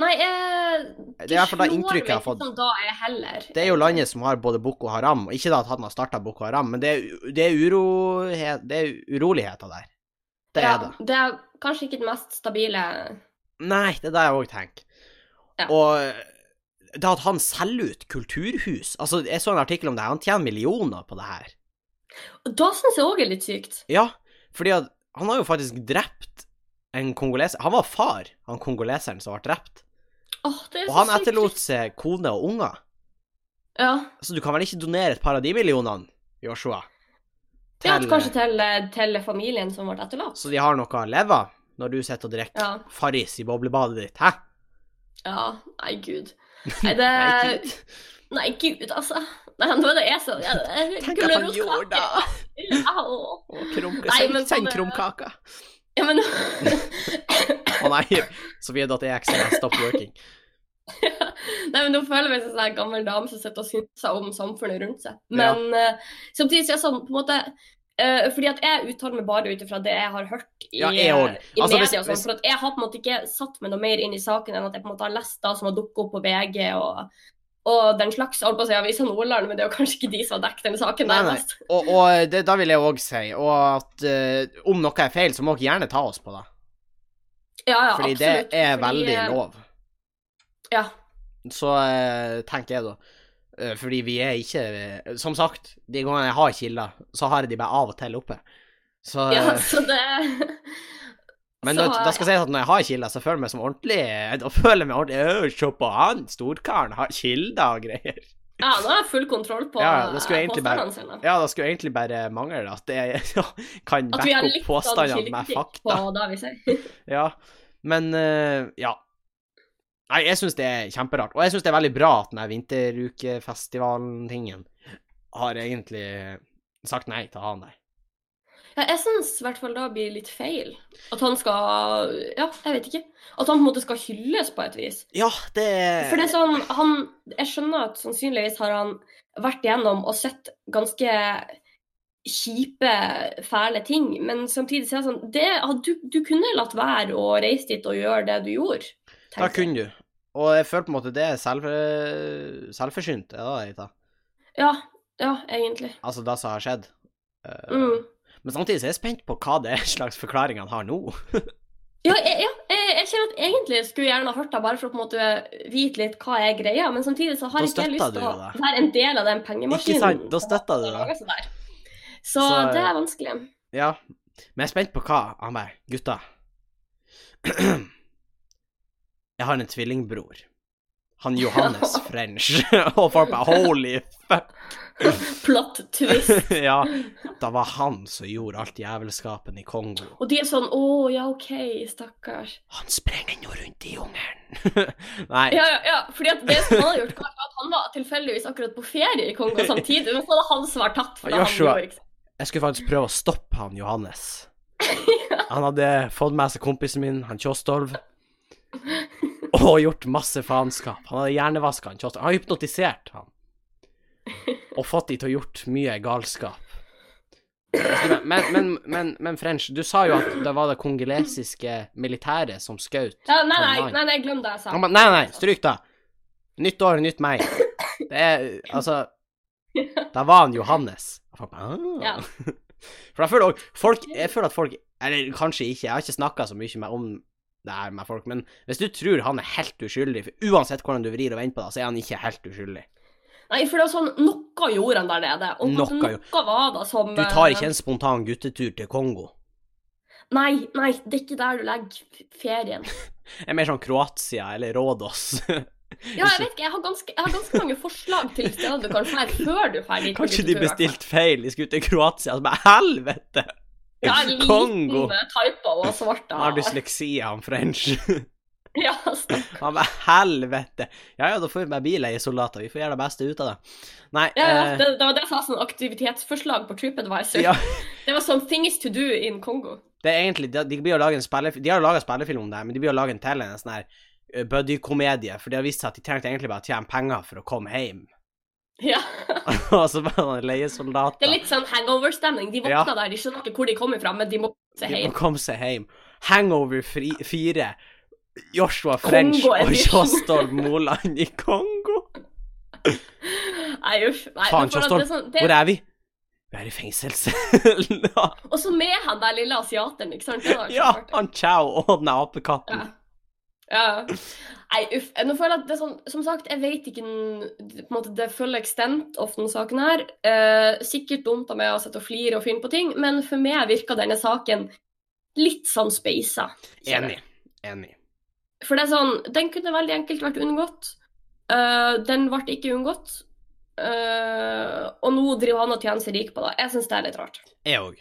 A: Nei, jeg
B: Det er i hvert fall det
A: slår
B: inntrykket jeg har
A: meg
B: fått.
A: Sånn, da er jeg heller.
B: Det er jo landet som har både Boko Haram og Ikke da at han har starta Boko Haram, men det er, det er, urohet, det er uroligheter der. Det
A: ja,
B: er det.
A: Det er kanskje ikke det mest stabile
B: Nei, det er det jeg òg tenker.
A: Ja.
B: Og det at han selger ut kulturhus Altså, jeg så en artikkel om det her. Han tjener millioner på det her.
A: Og Da syns jeg òg er litt sykt.
B: Ja, fordi at han har jo faktisk drept en kongoleser. Han var far, han kongoleseren som ble drept.
A: Åh, det er
B: Og
A: så
B: han
A: sykt.
B: etterlot seg kone og unger.
A: Ja.
B: Så du kan vel ikke donere et par av de millionene, Joshua?
A: ja, kanskje til, eh, til familien som ble etterlatt.
B: Så de har noe å leve av når du sitter og drikker
A: Ja.
B: Farris i boblebadet ditt, hæ?
A: ja. Nei, gud. Nei, det
B: Nei, gud.
A: Nei, gud, altså. Nei, nå er det jeg som
B: Tenk at han gjorde det!
A: det! Au.
B: Å, krumke,
A: Nei,
B: senk,
A: men
B: senk
A: sånn-
B: krumkaka.
A: Ja, men
B: Å nei, Sofie.ex har stopped working.
A: Nei, men Nå føler jeg meg som en sånn her gammel dame som sitter og synser om samfunnet rundt seg. Men eh, samtidig så er jeg sånn på en måte eh, fordi at Jeg uttaler meg bare ut ifra det jeg har hørt i,
B: Ja, jeg også.
A: i
B: Altså,
A: media.
B: hvis-
A: og sånn,
B: hvis-
A: for at Jeg har på en måte ikke satt meg noe mer inn i saken enn at jeg på en måte har lest det som har dukket opp på VG og, og den slags. Jeg holdt på å si Avisa Nordland, men det er jo kanskje ikke de som har dekket den saken.
B: Nei,
A: der
B: nei.
A: mest.
B: Og, og det, da vil jeg òg si, og at eh, om noe er feil, så må dere gjerne ta oss på det.
A: Ja, ja,
B: Fordi
A: absolutt.
B: det er
A: Fordi,
B: veldig
A: eh,
B: lov.
A: Ja.
B: Så eh, tenker jeg, da. eh, fordi vi er ikke eh, Som sagt, de gangene jeg har kilder, så har jeg de bare av og til oppe. Så,
A: ja,
B: eh,
A: så det
B: men
A: så,
B: da, da skal jeg si at når jeg har kilder, så føler jeg meg som ordentlig Da føler jeg meg ordentlig «Øy, Se på han, storkaren har kilder og greier.
A: Ja, nå har jeg full kontroll på
B: Ja, ja, det skulle jeg egentlig bare-
A: påstandene sine.
B: Ja, det skulle egentlig bare mangle at jeg kan
A: At vi
B: backe
A: har
B: opp
A: litt sånn
B: påstandene med
A: kildekritikk
B: fakta.
A: på det vi sier.
B: Ja, men eh, ja. Nei, jeg syns det er kjemperart. Og jeg syns det er veldig bra at den her vinterukefestivalen-tingen har egentlig sagt nei til han der.
A: Ja, jeg syns i hvert fall da blir litt feil. At han skal Ja, jeg vet ikke. At han på en måte skal hylles på et vis.
B: Ja, det
A: For det er sånn, han Jeg skjønner at sannsynligvis har han vært igjennom og sett ganske kjipe, fæle ting, men samtidig så er det sånn det, at du, du kunne latt være å reise dit og gjøre det du gjorde.
B: Da
A: tenker jeg.
B: kunne du. Og jeg føler på en måte det er selv, selvforsynt, er det det heter?
A: Ja, ja, egentlig.
B: Altså det som har skjedd. Eh,
A: Mm.
B: Men samtidig så er jeg spent på hva det er slags forklaring han har nå.
A: Ja, jeg, ja jeg, jeg kjenner at egentlig skulle jeg gjerne ha hørt det, bare for å på en måte vite litt hva jeg greier. Men samtidig så
B: Da
A: har ikke jeg
B: støtter
A: lyst til å
B: du det.
A: være en del av den
B: Ikke
A: pengemaskinen.
B: sant? Da støtter
A: som
B: du
A: har
B: det.
A: laget seg der. Så,
B: Så-
A: det er vanskelig.
B: Ja. Men jeg er spent på hva han bare Gutta. Jeg har en tvillingbror. Han Johannes French. Og folk bare Holy fuck.
A: Platt twist.
B: ja. Det var han som gjorde alt jævelskapen i Kongo.
A: Og de er sånn Å, ja, OK, stakkars.
B: Han sprenger nå rundt i jungelen. Nei.
A: Ja, ja, ja. Fordi at det som han har gjort, var at han var tilfeldigvis akkurat på ferie i Kongo samtidig. Men så hadde han som var tatt for det han
B: Joshua.
A: gjorde. ikke sant?
B: Jeg skulle faktisk prøve å stoppe han Johannes. Han hadde fått med seg kompisen min, han Tjostolv, og gjort masse faenskap. Han hadde hjernevaska han Tjostolv. Han hadde hypnotisert han. Og fått de til å gjort mye galskap. Men, men, men, men French, du sa jo at det var det kongolesiske militæret som skjøt.
A: Ja, nei,
B: han
A: nei,
B: vant.
A: nei, nei, glem det jeg sa.
B: Han ba, Nei, nei, stryk det. Nytt år, nytt meg. Det er Altså Da var han Johannes. Og folk bare, «Ah».
A: Ja.
B: For jeg føler òg Folk Jeg føler at folk Eller kanskje ikke, jeg har ikke snakka så mye med, om det her med folk, men hvis du tror han er helt uskyldig, for uansett hvordan du vrir og vender på det, så er han ikke helt uskyldig.
A: Nei, for det var sånn Noe gjorde han der nede. Og noe,
B: Noe gjorde-
A: noe var det som
B: Du tar
A: eh,
B: ikke en spontan guttetur til Kongo.
A: Nei, nei, det er ikke der du legger ferien.
B: Det er mer sånn Kroatia eller Rådås.
A: Ja, jeg vet ikke, jeg har ganske, jeg har ganske mange forslag til steder du kan være før du drar dit. på
B: Kanskje de
A: guttetur,
B: bestilte feil, de skulle til Kroatia, og så bare helvete!
A: i hvert fall. Ja,
B: Kongo.
A: liten med typer og svarte.
B: Han har dysleksi, han French.
A: Ja, altså. stemmer.
B: Han bare helvete! Ja ja, da får vi bare bileiesoldater, vi får gjøre det beste ut av det. Nei,
A: ja, ja,
B: eh,
A: det, det var det jeg sa sånn aktivitetsforslag på TripAdvisor.
B: Ja.
A: Det var sånn things to do in Kongo.
B: Det er egentlig, de, de, blir å lage en spillef- de har laga spillefilm om det, her, men de blir å lage en til en sånn her eh, buddy-komedie, for det har vist seg at de trengte egentlig bare å tjene penger for å komme hjem.
A: Ja.
B: og så bare sånne leiesoldater.
A: Det er litt sånn hangover-stemning. De
B: Ja.
A: våkna der, de skjønner ikke hvor de kommer fra, men de må se
B: De må
A: hjem.
B: komme seg hjem. Hangover 4. Joshua French
A: Kongo
B: og
A: edition.
B: Kjostolv Moland i Kongo.
A: Nei, uff. Nei, men for
B: Faen,
A: at det er
B: Kjostolv,
A: sånn- det-
B: hvor er vi? Vi er i fengselscellen.
A: Og så med han der lille asiateren, ikke sant? Det var jo
B: ja,
A: så artig.
B: han Chow og den apekatten.
A: Ja. Nei, uff. Nå føler jeg at det er sånn, som sagt, jeg vet ikke n- på en måte, Det følger extent ofte denne saken her. Eh, sikkert dumt av meg å sitte og flire og finne på ting, men for meg virker denne saken litt sånn speisa. kjenner jeg.
B: Enig. Enig.
A: For det er sånn, den kunne veldig enkelt vært unngått. Eh, den ble ikke unngått. Eh, og nå driver han og tjener seg rik på det. Jeg syns det er litt rart.
B: Jeg òg.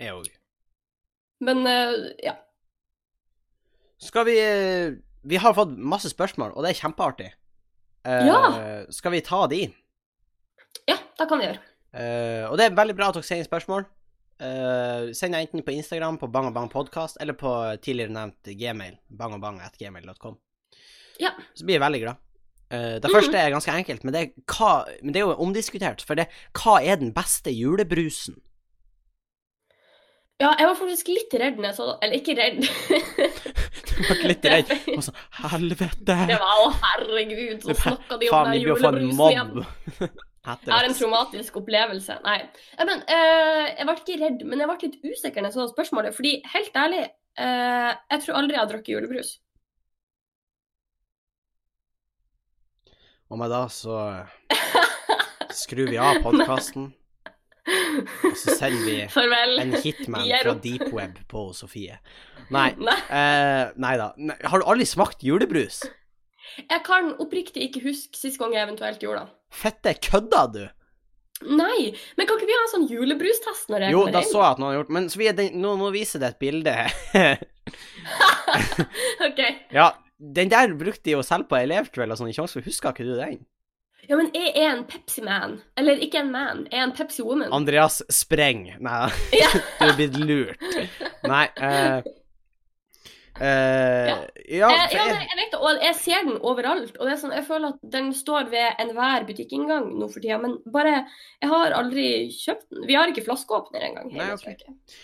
B: Jeg òg.
A: Men eh, ja.
B: Skal vi eh, Vi har fått masse spørsmål, og det er kjempeartig. Eh,
A: Ja.
B: Skal vi ta de?
A: ja, det kan vi gjøre.
B: Eh, og det er veldig bra at dere sender spørsmål. Eh, send enten på Instagram på bangabangpodkast eller på tidligere nevnt gmail. bangabang.gmail.com.
A: Ja.
B: Så blir jeg veldig glad. Eh, det
A: Mhm.
B: første er ganske enkelt, men det, er hva, men det er jo omdiskutert. For det hva er den beste julebrusen?
A: Ja, jeg var faktisk litt redd når jeg så Eller ikke redd.
B: Du ble litt redd. Og sånn
A: Det
B: Helvete!
A: var å herregud, så snakka de om
B: Faen,
A: den
B: vi blir jo faen
A: julebrusen igjen.
B: mobb. Etter
A: Jeg har en
B: oss.
A: traumatisk opplevelse. Nei. Ja, men, eh, jeg ble ikke redd, men jeg ble litt usikker når jeg så spørsmålet. Fordi, helt ærlig, eh, jeg tror aldri jeg har drukket julebrus.
B: Og med da så skrur vi av podkasten, og så sender vi
A: Farvel.
B: en hitman
A: Gir
B: fra
A: opp.
B: deep web på Sofie. Nei.
A: Nei,
B: eh, nei da. Nei, har du aldri smakt julebrus?
A: jeg kan oppriktig ikke huske sist gang jeg eventuelt gjorde det.
B: Fette kødda du?
A: Nei, men kan ikke vi ha en sånn julebrustest når jeg
B: Jo,
A: kommer
B: da
A: hjem?
B: så jeg at noen har gjort Men Sofie, den, nå må jeg vise deg et bilde.
A: Ok.
B: ja, den der brukte de jo selv på elevkveld og sånn i Tjongsfjord. Husker ikke du den?
A: Ja, men jeg er en Pepsi-man. Eller ikke en man, jeg er en Pepsi-woman.
B: Andreas Spreng. Nei da.
A: Ja.
B: du er blitt lurt. Nei. eh, eh, ja,
A: Eh,
B: for
A: ja,
B: jeg-
A: nei, jeg vet det, og jeg ser den overalt. Og det er sånn, jeg føler at den står ved enhver butikkinngang nå for tida, men bare Jeg har aldri kjøpt den. Vi har ikke flaskeåpner engang.
B: Nei,
A: hele
B: ok.
A: strøket.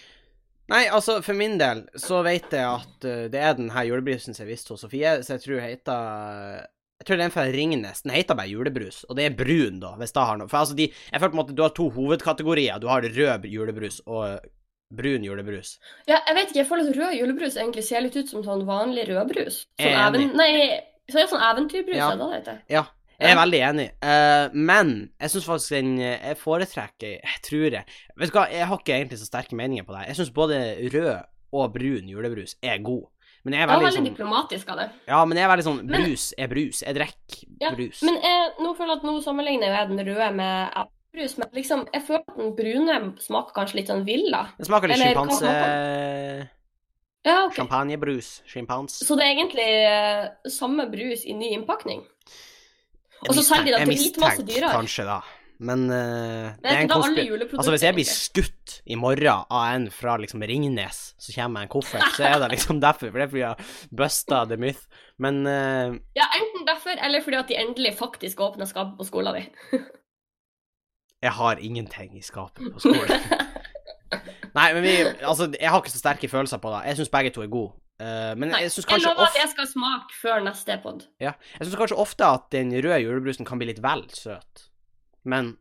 B: Nei, altså, for min del så vet jeg at eh, det er den her julebrusen som jeg visste hos Sofie, så jeg tror heter Jeg tror det er en fra Ringnes. Den heter bare julebrus, og det er brun, da, hvis det har noe For altså, de Jeg føler på en måte du har to hovedkategorier. Du har rød julebrus og brun julebrus.
A: Ja, jeg vet ikke, jeg føler at rød julebrus egentlig ser litt ut som sånn vanlig rødbrus. Sånn
B: Jeg er enig.
A: even, nei, så er det sånn eventyrbrus,
B: Ja.
A: ja. da, det heter.
B: Ja. Jeg er
A: Ja.
B: veldig enig, eh, men jeg syns faktisk den eh, Jeg foretrekker Jeg tror jeg Vet du hva, jeg har ikke egentlig så sterke meninger på det. her. Jeg syns både rød og brun julebrus er god, men jeg er
A: Det var
B: veldig
A: veldig
B: sånn
A: diplomatisk av det.
B: Ja, men jeg er veldig sånn
A: Men-
B: Brus er brus. Jeg drikker
A: Ja,
B: brus.
A: Men jeg, nå føler jeg at nå sammenligner jeg den røde med eplebrus, men liksom, jeg føler at den brune smaker kanskje litt sånn villa.
B: Det smaker litt
A: Eller
B: sjimpanse...
A: Ja, ok.
B: Champagnebrus. Sjimpans.
A: Så det er egentlig eh, samme brus i ny innpakning? Og så selger de det
B: Jeg
A: dritmasse
B: mistenker
A: dyrere.
B: kanskje da, men eh,
A: Det
B: det er en
A: ikke da alle
B: konspir...
A: juleprodukter.
B: Altså, hvis jeg blir
A: egentlig.
B: skutt i morgen av en fra liksom Ringnes, så kommer jeg en koffert, så er det liksom derfor. For det er fordi jeg har busta the myth. Men eh,
A: Ja, Enten derfor, eller fordi at de endelig faktisk åpner skapet på skolen din.
B: jeg har ingenting i skapet på skolen. Nei, men vi Altså, jeg har ikke så sterke følelser på det. Jeg syns begge to er gode. Eh, men
A: Nei,
B: jeg syns
A: Jeg
B: kanskje
A: lover
B: off...
A: at jeg skal smake før neste pod.
B: Jeg syns kanskje ofte at den røde julebrusen kan bli litt vel søt. Men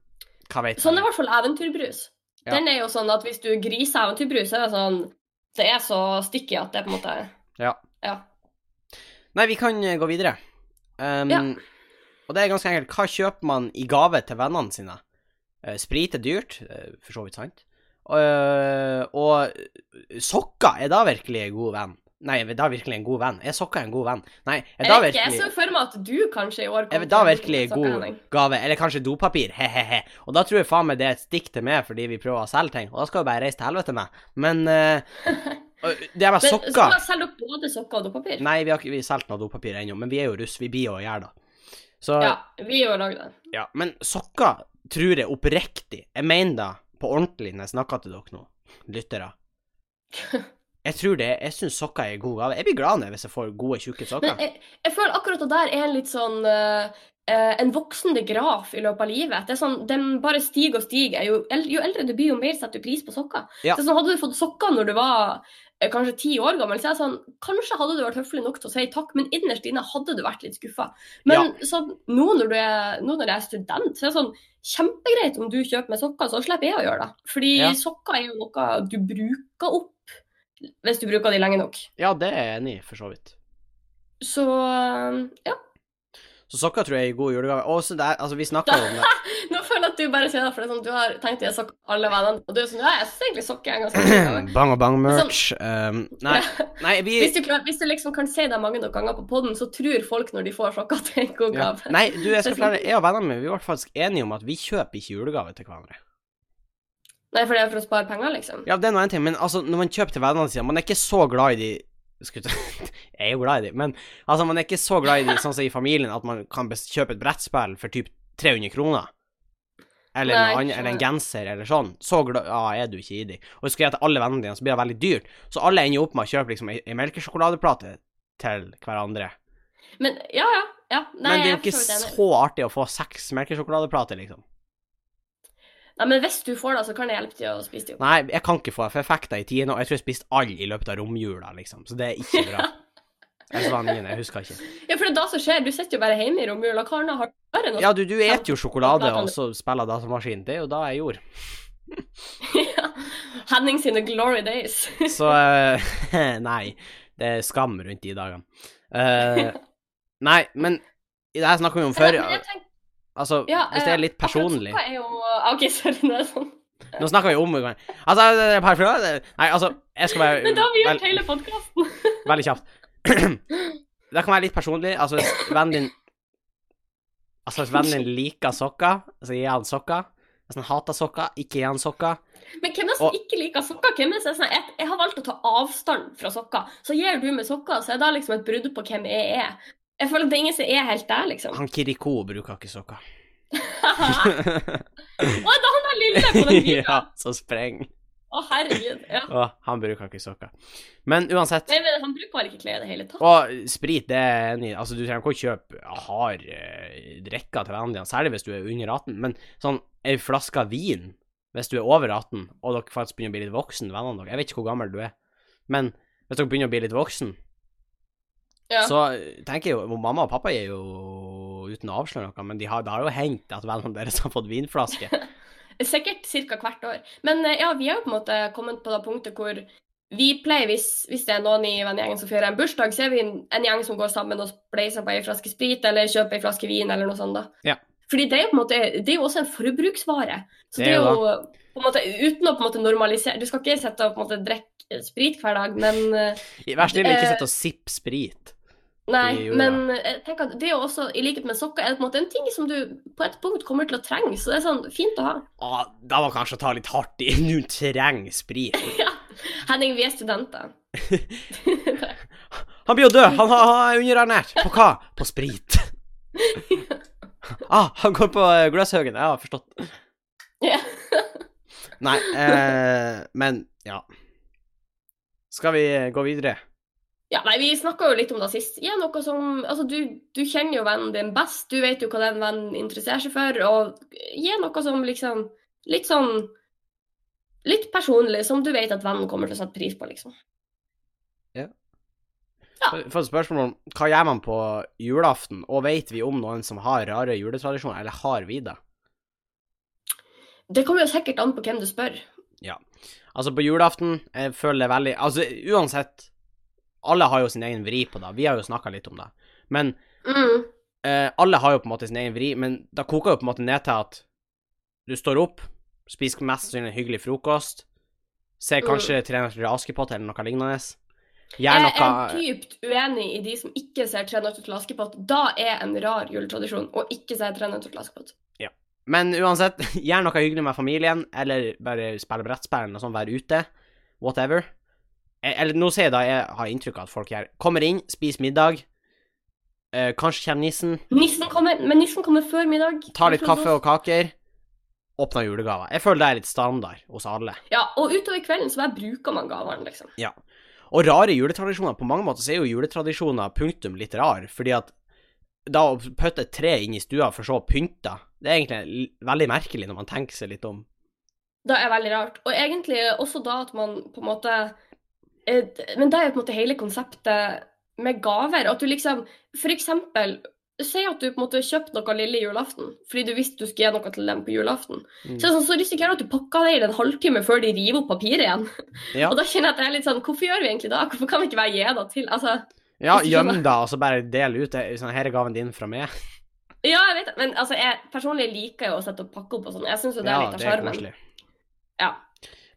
B: hva vet
A: Sånn er i
B: jeg.
A: hvert fall eventyrbrus.
B: Ja.
A: Den er jo sånn at hvis du griser eventyrbrus, så er det sånn Det er så sticky at det på en måte
B: Ja.
A: ja.
B: Nei, vi kan eh, gå videre. Um,
A: Ja.
B: Og det er ganske enkelt. Hva kjøper man i gave til vennene sine? Eh, sprit er dyrt, eh, eh, for så vidt sant. Eh, og sokker er da virkelig en god venn. Nei, men da er virkelig en god venn. Er sokker en god venn? Nei, er da
A: Jeg vet ikke, jeg
B: virkelig
A: så for meg at du kanskje i år
B: er
A: kommer
B: da
A: til å
B: virkelig
A: bruke
B: god
A: sokkehandling.
B: gave? Eller kanskje dopapir? He-he-he. Og da tror jeg faen meg det er et stikk til meg fordi vi prøver å selge ting. Og da skal vi bare reise til helvete med. Men eh, og det med
A: Men skal
B: sokker
A: jeg selge opp både sokker og dopapir?
B: Nei, vi har ikke vi har solgt noe dopapir ennå, men vi er jo russ. Vi blir jo å gjøre det. Så
A: Ja, vi er jo lagd det.
B: Ja, men sokker tror jeg oppriktig Jeg mener det på ordentlig når jeg snakker til dere nå, lyttere. Jeg tror det, jeg syns sokker er en god gave. Jeg blir glad når hvis jeg får gode, tjukke sokker.
A: Men jeg, jeg føler akkurat det der er en litt sånn eh, eh, En voksende graf i løpet av livet. Det er sånn, Den bare stiger og stiger. Jo, el- jo eldre du blir, jo mer setter du pris på sokker.
B: Ja.
A: Det er sånn, hadde du fått sokker når du var eh, kanskje ti år gammel, så er det sånn Kanskje hadde du vært høflig nok til å si takk, men innerst inne hadde du vært litt skuffa. Men sånn, nå, når du er, nå når jeg er student, så er det sånn Kjempegreit om du kjøper meg sokker, så slipper jeg å gjøre det. Fordi
B: Ja.
A: sokker er jo noe du bruker opp hvis du bruker de lenge nok.
B: Ja, det er jeg enig i, for så vidt.
A: Så eh, ja.
B: Så sokker tror jeg er en god julegave. Og så der, altså, vi snakka jo om det.
A: Nå føler jeg at du bare sier det, for det er sånn, du har tenkt i sokker alle vennene, og du er sånn, ja, jeg synes egentlig sokker er ganske kul gave».
B: bang og bang merch. Um, nei, nei, vi
A: sånn- Hvis du, klar, hvis du liksom kan si det mange nok ganger på podden, så tror folk når de får sokker at det er en god
B: ja.
A: gave.
B: Nei, du, jeg skal forklare. Jeg og vennene mine vi var faktisk enige om at vi kjøper ikke julegave til hverandre.
A: Nei, for det er for å spare penger, liksom.
B: Ja, det er nå en ting, men altså, når man kjøper til vennene sine, man er ikke så glad i de Skutt Jeg er jo glad i de, men altså, man er ikke så glad i de sånn som i familien at man kan bes- kjøpe et brettspill for typ 300 kroner. Eller,
A: Nei,
B: noe annet,
A: skjønner.
B: eller en genser, eller sånn. Så glad ja, er du ikke i de. Og husker jeg til alle vennene dine, så blir det veldig dyrt. Så alle ender jo opp med å kjøpe liksom ei ei melkesjokoladeplate til hverandre.
A: Men ja, ja, ja. Nei,
B: men det er
A: jeg
B: jo ikke
A: for så vidt enig.
B: så artig å få seks melkesjokoladeplater, liksom.
A: Nei, men hvis du får det, så kan jeg hjelpe deg å spise det opp.
B: Nei, jeg kan ikke få det, for jeg fikk det i tiende, og jeg tror jeg spiste alle i løpet av romjula, liksom. Så det er ikke bra. Eller så var det niende, jeg husker ikke.
A: Ja, for det er da som skjer, du sitter jo bare hjemme i romjula, Karna har bare noe.
B: Ja, du, du et jo sjokolade, og så spiller datamaskinen. Det er jo da jeg gjorde.
A: Henning sine glory days.
B: Så eh, Nei. Det er skam rundt de dagene. Eh, nei, men i det her snakker vi om før.
A: Men jeg tenker-
B: Altså,
A: ja,
B: hvis det
A: eh,
B: er litt
A: akkurat
B: personlig
A: sokker er jo... ah, Ok, sorry, nå er det sånn.
B: Nå snakker vi om Altså, det er par fra- Nei, altså, jeg skal være
A: Men da har vi gjort
B: vel-
A: hele podcasten.
B: Veldig kjapt. det kan være litt personlig. Altså, hvis vennen din Altså, hvis vennen din liker sokker, så gir jeg han sokker. Hvis han hater sokker, ikke gi han sokker.
A: Men hvem er det som
B: Og-
A: ikke liker sokker? Hvem er det som er sånn, jeg, jeg har valgt å ta avstand fra sokker. Så gir du meg sokker, så er det liksom et brudd på hvem jeg er. Jeg føler at det er ingen som er helt der, liksom.
B: Han Kiriko bruker ikke sokker.
A: Å, det er han der lille på den videoen.
B: ja, så spreng.
A: Å, herregud. Ja.
B: Å, han bruker ikke sokker. Men uansett,
A: Nei, men han bruker vel ikke klær i det hele tatt?
B: og sprit, det er enig. Altså, du trenger ikke å kjøpe hard eh, drikker til vennene dine, særlig hvis du er under 18, men sånn ei flaske vin hvis du er over 18, og dere faktisk begynner å bli litt voksen, vennene deres Jeg vet ikke hvor gammel du er, men hvis dere begynner å bli litt voksen,
A: Ja.
B: så eh, tenker jeg jo Mamma og pappa gir jo uten å avsløre noe, men de har, det har jo hendt at vennene deres har fått vinflaske.
A: Sikkert ca. hvert år. Men eh, ja, vi er jo på en måte kommet på det punktet hvor vi pleier, hvis, hvis det er noen i vennegjengen som feirer en bursdag, så er vi en, en gjeng som går sammen og spleiser på ei flaske sprit eller kjøper ei flaske vin eller noe sånt. da.
B: Ja.
A: Fordi det er jo på en måte, det er jo også en forbruksvare. Så
B: Det
A: det er
B: er jo
A: jo på en måte, Uten å på en måte normalisere Du skal ikke sitte og på en måte drikke sprit hver dag, men eh,
B: Vær snill, ikke
A: Eh,
B: sitt og sipp sprit.
A: Nei,
B: Jo, ja.
A: men eh, jeg tenker at det er jo også, i likhet med sokker, er det på en måte en ting som du på et punkt kommer til å trenge. Så det er sånn fint å ha.
B: Ah, da var kanskje å ta litt hardt i. Nå trenger sprit.
A: Henning, vi er studenter.
B: Han blir jo død! Han, han, han er underernært. På hva? På sprit. Ah, han går på eh, Gløshaugen. Jeg har forstått.
A: Ja.
B: Nei, eh, men ja. Skal vi eh, gå videre?
A: Ja, nei, Vi snakka jo litt om det sist. Ja, noe som, altså, du, du kjenner jo vennen din best. Du vet jo hva den vennen interesserer seg for. Og gi noe som liksom Litt sånn Litt personlig, som du vet at vennen kommer til å sette pris på, liksom. Ja.
B: Jeg har fått spørsmål om hva gjør man på julaften, og vet vi om noen som har rare juletradisjoner, eller har vi det?
A: Det kommer jo sikkert an på hvem du spør.
B: Altså, på julaften jeg føler det veldig Altså, uansett Alle har jo sin egen vri på det. Vi har jo snakka litt om det. Men
A: Mm.
B: eh, alle har jo på en måte sin egen vri, men da koker jo på en måte ned til at du står opp, spiser mest sannsynlig en hyggelig frokost, ser kanskje 300 Askepott eller noe lignende, Gjør
A: Jeg
B: noe
A: er dypt uenig i de som ikke ser 'Tre nøtter til Askepott'. Da er en rar juletradisjon å ikke se 'Tre nøtter til Askepott'.
B: Men uansett, gjør noe hyggelig med familien, eller bare spille brettspill og sånn, være ute. Whatever. Eh, Eller nå sier jeg da jeg har inntrykk av at folk gjør Kommer inn, spiser middag. Eh, kanskje kommer nissen.
A: Nissen kommer, men nissen kommer før middag.
B: Tar litt kaffe og kaker. Åpner julegaver. Jeg føler det er litt standard hos alle.
A: Ja, og utover kvelden så bare bruker man gavene, liksom.
B: Og rare juletradisjoner. På mange måter så er jo juletradisjoner punktum litt rar, fordi at da å putte et tre inn i stua for så å pynte, det er egentlig l- veldig merkelig når man tenker seg litt om.
A: Det er veldig rart. Og egentlig også da at man på en måte eh, Men det er jo på en måte hele konseptet med gaver. At du liksom For eksempel Si at du på en måte kjøpte noe lille julaften fordi du visste du skulle gi noe til dem på julaften.
B: Mm.
A: Så, det er sånn, så risikerer du at du pakker det inn en halvtime før de river opp papiret igjen.
B: Ja.
A: Og da kjenner jeg at det er litt sånn Hvorfor gjør vi egentlig det? Hvorfor kan vi ikke bare gi det til Altså,
B: Ja,
A: Hvis du
B: gjem
A: skjønner. deg,
B: da, og så bare del ut det. Sånn, her er gaven din fra meg.
A: ja, jeg vet det, men altså, jeg personlig liker jo å sette og pakke opp og sånn. Jeg syns jo det er
B: Ja,
A: litt av sjarmen. Ja.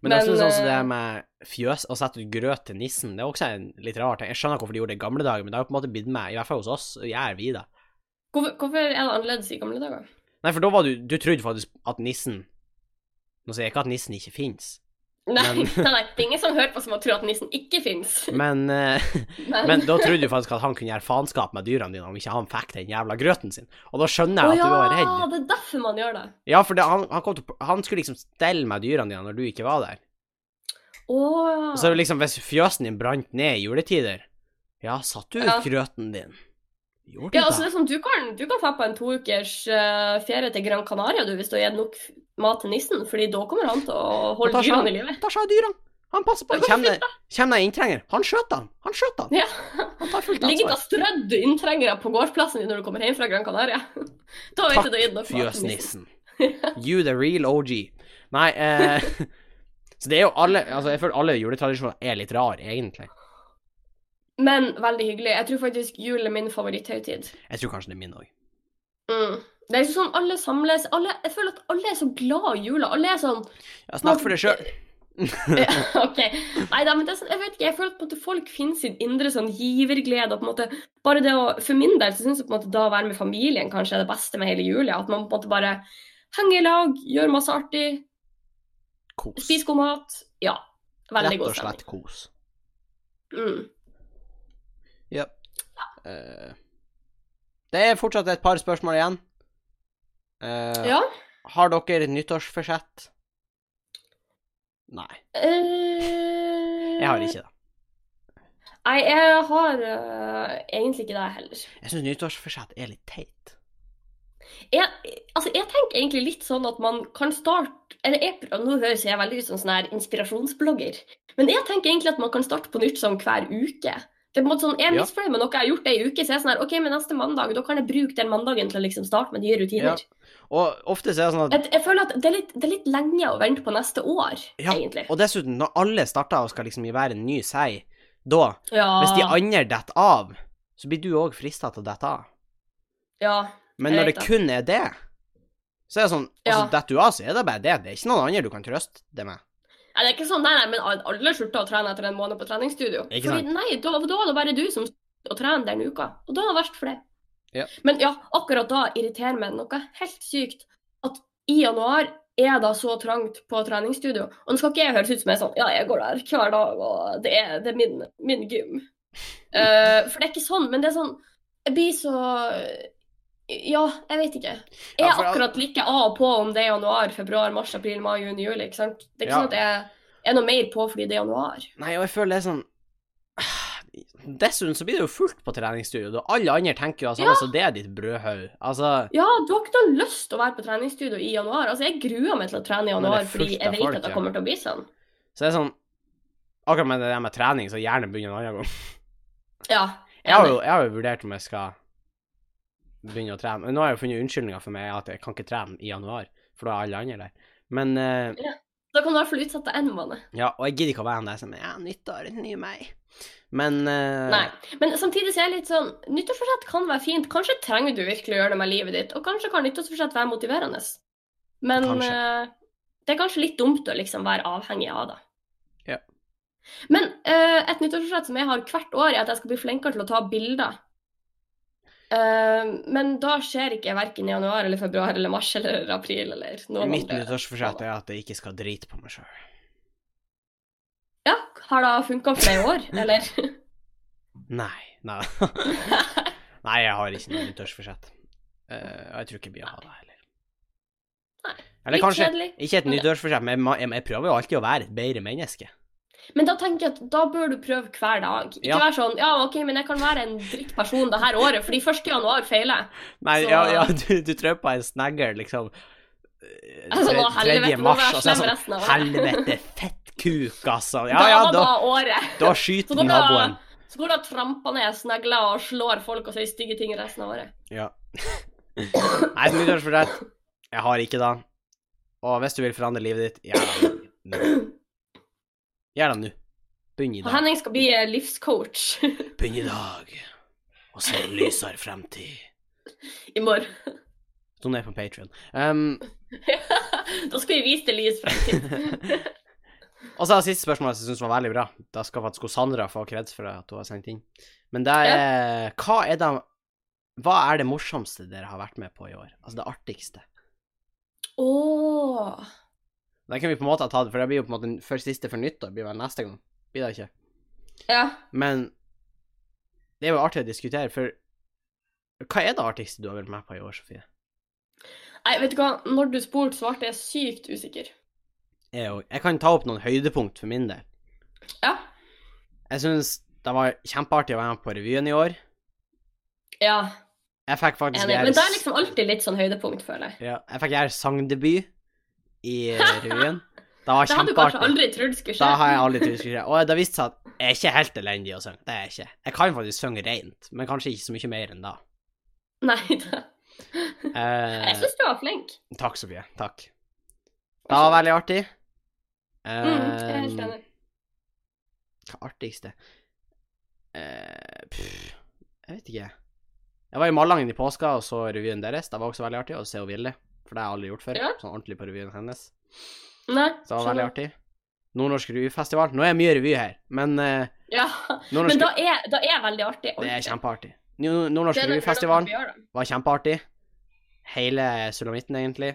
B: Men, jeg
A: Men,
B: synes også
A: eh,
B: det med fjøs, å sette ut grøt til nissen, det er også en litt rar ting. Jeg skjønner ikke hvorfor de gjorde det i gamle dager, men det har jo på en måte blitt med, i hvert fall hos oss, gjør vi det.
A: Hvorfor, hvorfor er det annerledes i gamle dager?
B: Nei, for da var du, du trodde faktisk at nissen, nå sier jeg ikke at nissen ikke finnes,
A: Nei,
B: Men-
A: nei, nei, det er ingen som hører på som tror at nissen ikke fins.
B: men, eh,
A: Men,
B: men da trodde du faktisk at han kunne gjøre faenskap med dyrene dine om ikke han fikk den jævla grøten sin. Og da
A: Å
B: skjønner jeg at
A: ja,
B: du var redd.
A: det er derfor man gjør det.
B: Ja, for det, han, han, kom til, han skulle liksom stelle med dyrene dine når du ikke var der.
A: Å
B: Og så
A: ja.
B: er det liksom, hvis fjøsen din brant ned i juletider, ja, satt du ut
A: Ja.
B: grøten din? Gjorde du
A: Ja, altså det
B: det?
A: er sånn, Du kan du kan dra på en to ukers eh, ferie til Gran Canaria du, hvis du har gitt nok f- mat til nissen, fordi da kommer han til å
B: Han tar
A: holde
B: seg av-
A: dyrene i live.
B: Da sa dyrene. Han passer på.
A: Det går
B: Kommer det- kommer det en inntrenger? Han skjøt han. Han skjøt han.
A: Ja.
B: Han tar fullt
A: Ligger
B: ansvar.
A: da strødd inntrengere på gårdsplassen din når du kommer hjem fra Gran Canaria. Da vet
B: Takk,
A: du du har gitt nok mat til nissen.
B: Fjøsnissen. You the real OG. Nei, eh Så det er jo alle Altså, jeg føler alle juletradisjoner er litt rar, egentlig.
A: Men veldig hyggelig. Jeg tror faktisk jul er min favoritthøytid.
B: Jeg tror kanskje det er min òg.
A: Mm. Det er sånn alle samles alle, Jeg føler at alle er så glad i jula. Alle er sånn
B: Ja, snakk for deg sjøl.
A: eh, OK. Nei da, men det er sånn, jeg vet ikke. Jeg føler at på en måte folk finner sin indre sånn giverglede. Og på en måte, bare det å, For min del så syns jeg på en måte da å være med familien kanskje er det beste med hele jula. At man på en måte bare henger i lag, gjør masse artig,
B: Kos.
A: spiser god mat. Ja. Veldig
B: Rett og
A: god stemning.
B: slett kos.
A: Mm.
B: Eh, Det er fortsatt et par spørsmål igjen. Eh,
A: Ja.
B: Har dere nyttårsforsett? Nei,
A: Eh,
B: jeg har ikke det.
A: Nei, jeg har eh, egentlig ikke det heller.
B: Jeg syns nyttårsforsett er litt teit.
A: Jeg, altså, jeg tenker egentlig litt sånn at man kan starte eller jeg, prø- Nå høres jeg veldig ut som sånn her inspirasjonsblogger, men jeg tenker egentlig at man kan starte på nytt sånn hver uke. Det er på en måte sånn, Jeg er
B: Ja.
A: misfornøyd med noe jeg har gjort ei uke, så jeg er sånn her OK, men neste mandag, da kan jeg bruke den mandagen til å liksom starte med nye
B: Ja.
A: rutiner.
B: Og ofte så er det sånn at
A: Jeg, jeg føler at det er, litt, det er litt lenge å vente på neste år,
B: Ja,
A: egentlig.
B: Og dessuten, når alle starter og skal liksom være en ny seg, da,
A: Ja.
B: hvis de andre detter av, så blir du òg frista til å dette av.
A: ja.
B: Men
A: Jeg
B: når
A: vet
B: det kun er det, så er det sånn Og så
A: Ja.
B: detter du av, så er det bare det. Det er ikke noen andre du kan trøste det med.
A: Nei, det er ikke sånn, nei, nei, men alle slutter å trene etter en måned på treningsstudio.
B: Ikke
A: Fordi, nei, da, da er det bare du som slutter å trene den uka, og da er det verst for det.
B: Ja.
A: Men ja, akkurat da irriterer meg noe helt sykt at i januar er det så trangt på treningsstudio. Og nå skal ikke jeg høres ut som jeg er sånn, ja, jeg går der hver dag, og det er, det er min, min gym. Eh, for det er ikke sånn, men det er sånn, jeg blir så... Ja, jeg vet ikke. Jeg
B: Ja,
A: er
B: for al-
A: akkurat like av og på om det er januar, februar, mars, april, mai, juni, juli. ikke sant? Det er ikke
B: Ja.
A: sånn at jeg er noe mer på fordi det er januar.
B: Nei, og jeg føler det er sånn Dessuten så blir det jo fullt på treningsstudio, og alle andre tenker jo altså,
A: Ja.
B: altså det er ditt brødhaug. Altså
A: Ja, du har ikke noe lyst til å være på treningsstudio i januar. Altså, Jeg gruer meg til å trene i
B: Men det er
A: januar fordi
B: fullt av
A: jeg vet
B: folk,
A: at det
B: ja.
A: kommer til å bli sånn.
B: Så det er sånn Akkurat med det der med trening, så gjerne begynner en annen gang.
A: Ja.
B: Jeg har jo, jeg har jo vurdert om jeg skal begynne å trene. Men nå har jeg jo funnet unnskyldninger for meg at jeg kan ikke trene i januar, for da er alle andre der. Men eh,
A: Da kan du i hvert fall utsette en måned.
B: ja, og jeg gidder ikke å være han der som ja, nyttår, en ny meg. Men eh,
A: Nei. Men samtidig så er jeg litt sånn Nyttårsforsett kan være fint. Kanskje trenger du virkelig å gjøre det med livet ditt, og kanskje kan nyttårsforsett være motiverende. Men
B: Kanskje.
A: eh, det er kanskje litt dumt å liksom være avhengig av det.
B: Ja.
A: Men eh, et nyttårsforsett som jeg har hvert år, er at jeg skal bli flinkere til å ta bilder. Eh, men da skjer ikke verken i januar eller februar eller mars eller april eller noen
B: Mitt
A: andre.
B: nyttårsforsett er at jeg ikke skal drite på meg sjøl.
A: Ja, har det funka for deg i år, eller?
B: Nei. Nei. nei, jeg har ikke noe nyttårsforsett. Eh, og jeg tror ikke jeg blir å ha det heller.
A: Nei.
B: Eller
A: Litt
B: kanskje
A: kjedelig.
B: ikke et
A: men-
B: nyttårsforsett, men jeg, må- jeg, jeg prøver jo alltid å være et bedre menneske.
A: Men da tenker jeg at da bør du prøve hver dag. Ikke
B: Ja.
A: være sånn ja, OK, men jeg kan være en drittperson det her året, fordi 1. januar feiler jeg.
B: Nei,
A: Så-
B: ja, ja, du, du trør på en snegger, liksom. eh,
A: Altså,
B: tre-
A: nå, helvete,
B: 3.
A: nå må
B: mars,
A: jeg
B: og så er
A: slem
B: det
A: resten
B: sånn
A: av året.
B: Helvete, fettkuk, altså. Ja,
A: Da
B: ja,
A: var
B: da,
A: året.
B: da
A: Så
B: skyter
A: går
B: naboen.
A: det, så går det og tramper ned snegler og slår folk og sier stygge ting resten av året.
B: Ja. Nei, så nyttårsforsett Jeg har ikke da. Og hvis du vil forandre livet ditt, gjør det nå. Gjør det nå. Begynn i
A: Og
B: dag.
A: Henning skal bli eh, livscoach
B: Begynn i dag. Og se en lysere fremtid.
A: i morgen.
B: Doner på Patrion. Um,
A: da skal vi vise det lys fremtid.
B: og så er det siste spørsmålet som jeg syns var veldig bra. Da skal faktisk Sandra få kreds for at hun har sendt inn. Men det er Hva er det Hva er det morsomste dere har vært med på i år? Altså det artigste.
A: Åh.
B: Det kan vi på en måte ha tatt, for det blir jo på en måte den første siste for nyttår. Blir vel neste gang. Blir det ikke?
A: Ja.
B: Men det er jo artig å diskutere, for hva er det artigste du har vært med på i år, Sofie?
A: Nei, vet du hva, når du spurte, så ble jeg sykt usikker.
B: Jeg, er jo- jeg kan ta opp noen høydepunkt for min del.
A: Ja.
B: Jeg syns det var kjempeartig å være med på revyen i år.
A: Ja,
B: Jeg fikk faktisk
A: enig.
B: gjøre
A: Men det er liksom alltid litt sånn høydepunkt, føler jeg.
B: ja, Jeg fikk gjøre sangdebut i revyen. Det var
A: Det hadde du kanskje
B: kjempeartig.
A: aldri trodd skulle
B: Da har
A: skje.
B: jeg aldri trodd det skulle skje. Og det viste seg at jeg er ikke helt elendig å synge. Det er jeg ikke. Jeg kan faktisk synge rent, men kanskje ikke så mye mer enn da.
A: Nei, det... Jeg
B: Eh,
A: syns du var flink.
B: takk, Sofie. Takk. Det var veldig artig.
A: Mm, jeg er helt
B: Eh,
A: enig.
B: Hva artigste? Eh, pff, jeg vet ikke. Jeg var i Malangen i påska og så revyen deres. Det var også veldig artig å se henne Ville, for det har jeg aldri gjort før.
A: Ja.
B: Sånn ordentlig på revyen hennes.
A: Nei,
B: Så det var veldig
A: skjønner.
B: artig. Nordnorsk revyfestival. Nå er det mye revy her, men eh,
A: Ja,
B: nordnorsk,
A: men da er, da er veldig artig.
B: det er
A: ordentlig.
B: kjempeartig. Nord- Nordnorsk
A: Det er noe-
B: revyfestival
A: det er noe vi gjør, da.
B: var kjempeartig. Hele sulamitten, egentlig.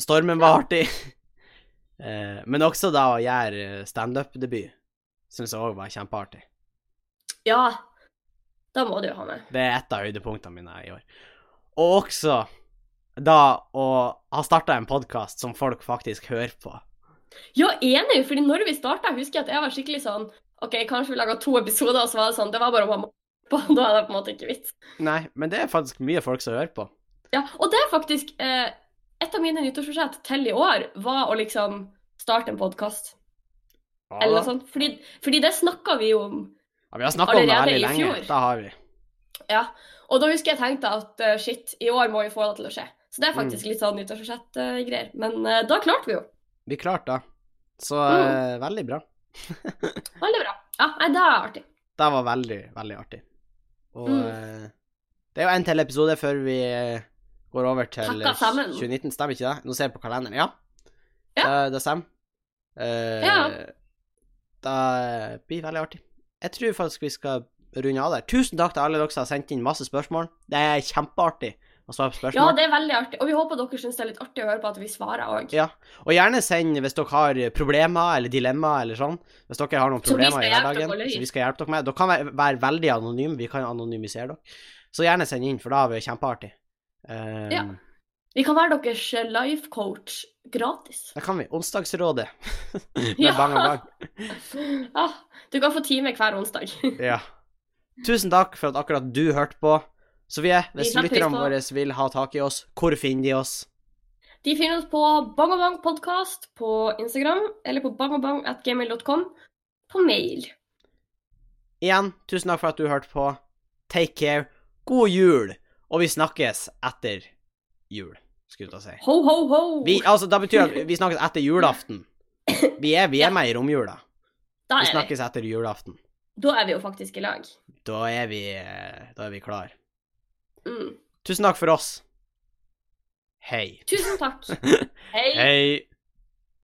B: Stormen var artig. Eh, men også da å gjøre eh, standup-debut syns jeg òg var kjempeartig.
A: Ja, da må du jo ha med.
B: Det er et av høydepunktene mine i år. Og også da å ha starta en podkast som folk faktisk hører på.
A: Ja, enig, fordi når vi starta, husker jeg at jeg var skikkelig sånn OK, kanskje vi laga to episoder, og så var det sånn Det var bare å mamma på, da er det på en måte ikke vits.
B: Nei, men det er faktisk mye folk som hører på.
A: Ja, og det er faktisk eh, Et av mine nyttårsforsett til i år var å liksom starte en podkast,
B: Ja,
A: eller noe
B: da.
A: sånt. Fordi, fordi det snakka vi jo om.
B: Ja, vi har snakka om det
A: Allerede i
B: veldig lenge.
A: fjor.
B: Da har vi.
A: Ja. Og da husker jeg tenkte at eh, shit, i år må vi få det til å skje. Så
B: Mm.
A: det er faktisk litt sånn nyttårsforsett-greier. Men eh, da klarte vi jo.
B: Vi klarte det. Så
A: Mm.
B: eh, veldig bra.
A: Veldig bra. Ja, nei, det er artig.
B: Det var veldig, veldig artig. Og
A: Mm.
B: eh, det er jo en til episode før vi eh, går over til
A: Takker
B: eh,
A: sammen.
B: 2019, stemmer ikke det? Nå ser jeg på kalenderen. Ja, Eh, det stemmer. Eh,
A: Ja.
B: Det blir veldig artig. Jeg tror faktisk vi skal runde av der. Tusen takk til alle dere som har sendt inn masse spørsmål. Det er kjempeartig å svare på
A: Ja,
B: spørsmål.
A: det er veldig artig. Og vi håper dere syns det er litt artig å høre på at vi svarer òg.
B: Ja. Og gjerne send hvis dere har problemer eller dilemmaer eller sånn. Hvis dere har noen
A: Som vi
B: problemer
A: skal
B: i
A: hjelpe dere
B: hverdagen
A: å løse.
B: som vi skal hjelpe dere med. Dere kan være, være veldig anonyme, vi kan anonymisere dere. Så gjerne send inn, for da har vi kjempeartig. Um,
A: Ja. Vi kan være deres eh, life coach gratis.
B: Det kan vi. Onsdagsrådet. med
A: Ja.
B: bang og bang.
A: Ah, du kan få time hver onsdag.
B: Ja. Tusen takk for at akkurat du hørte på. Sofie, hvis
A: setter
B: lytterne
A: pris på
B: våre vil ha tak i oss, hvor finner de oss?
A: De finner oss på Bang og Bang podcast på Instagram, eller på bangogbang.gmail.com, på mail.
B: Igjen, tusen takk for at du hørte på. Take care. God jul. Og vi snakkes etter jul, skulle jeg til å si.
A: Ho, ho, ho!
B: Vi, altså, da betyr at vi snakkes etter julaften. Vi er, vi
A: Ja.
B: er med i romjula.
A: da
B: Vi
A: er vi.
B: snakkes etter julaften.
A: Da er vi jo faktisk i lag.
B: Da er vi, eh, da er vi klar.
A: Mm.
B: Tusen takk for oss. Hei.
A: Tusen takk. Hei.
B: Hei.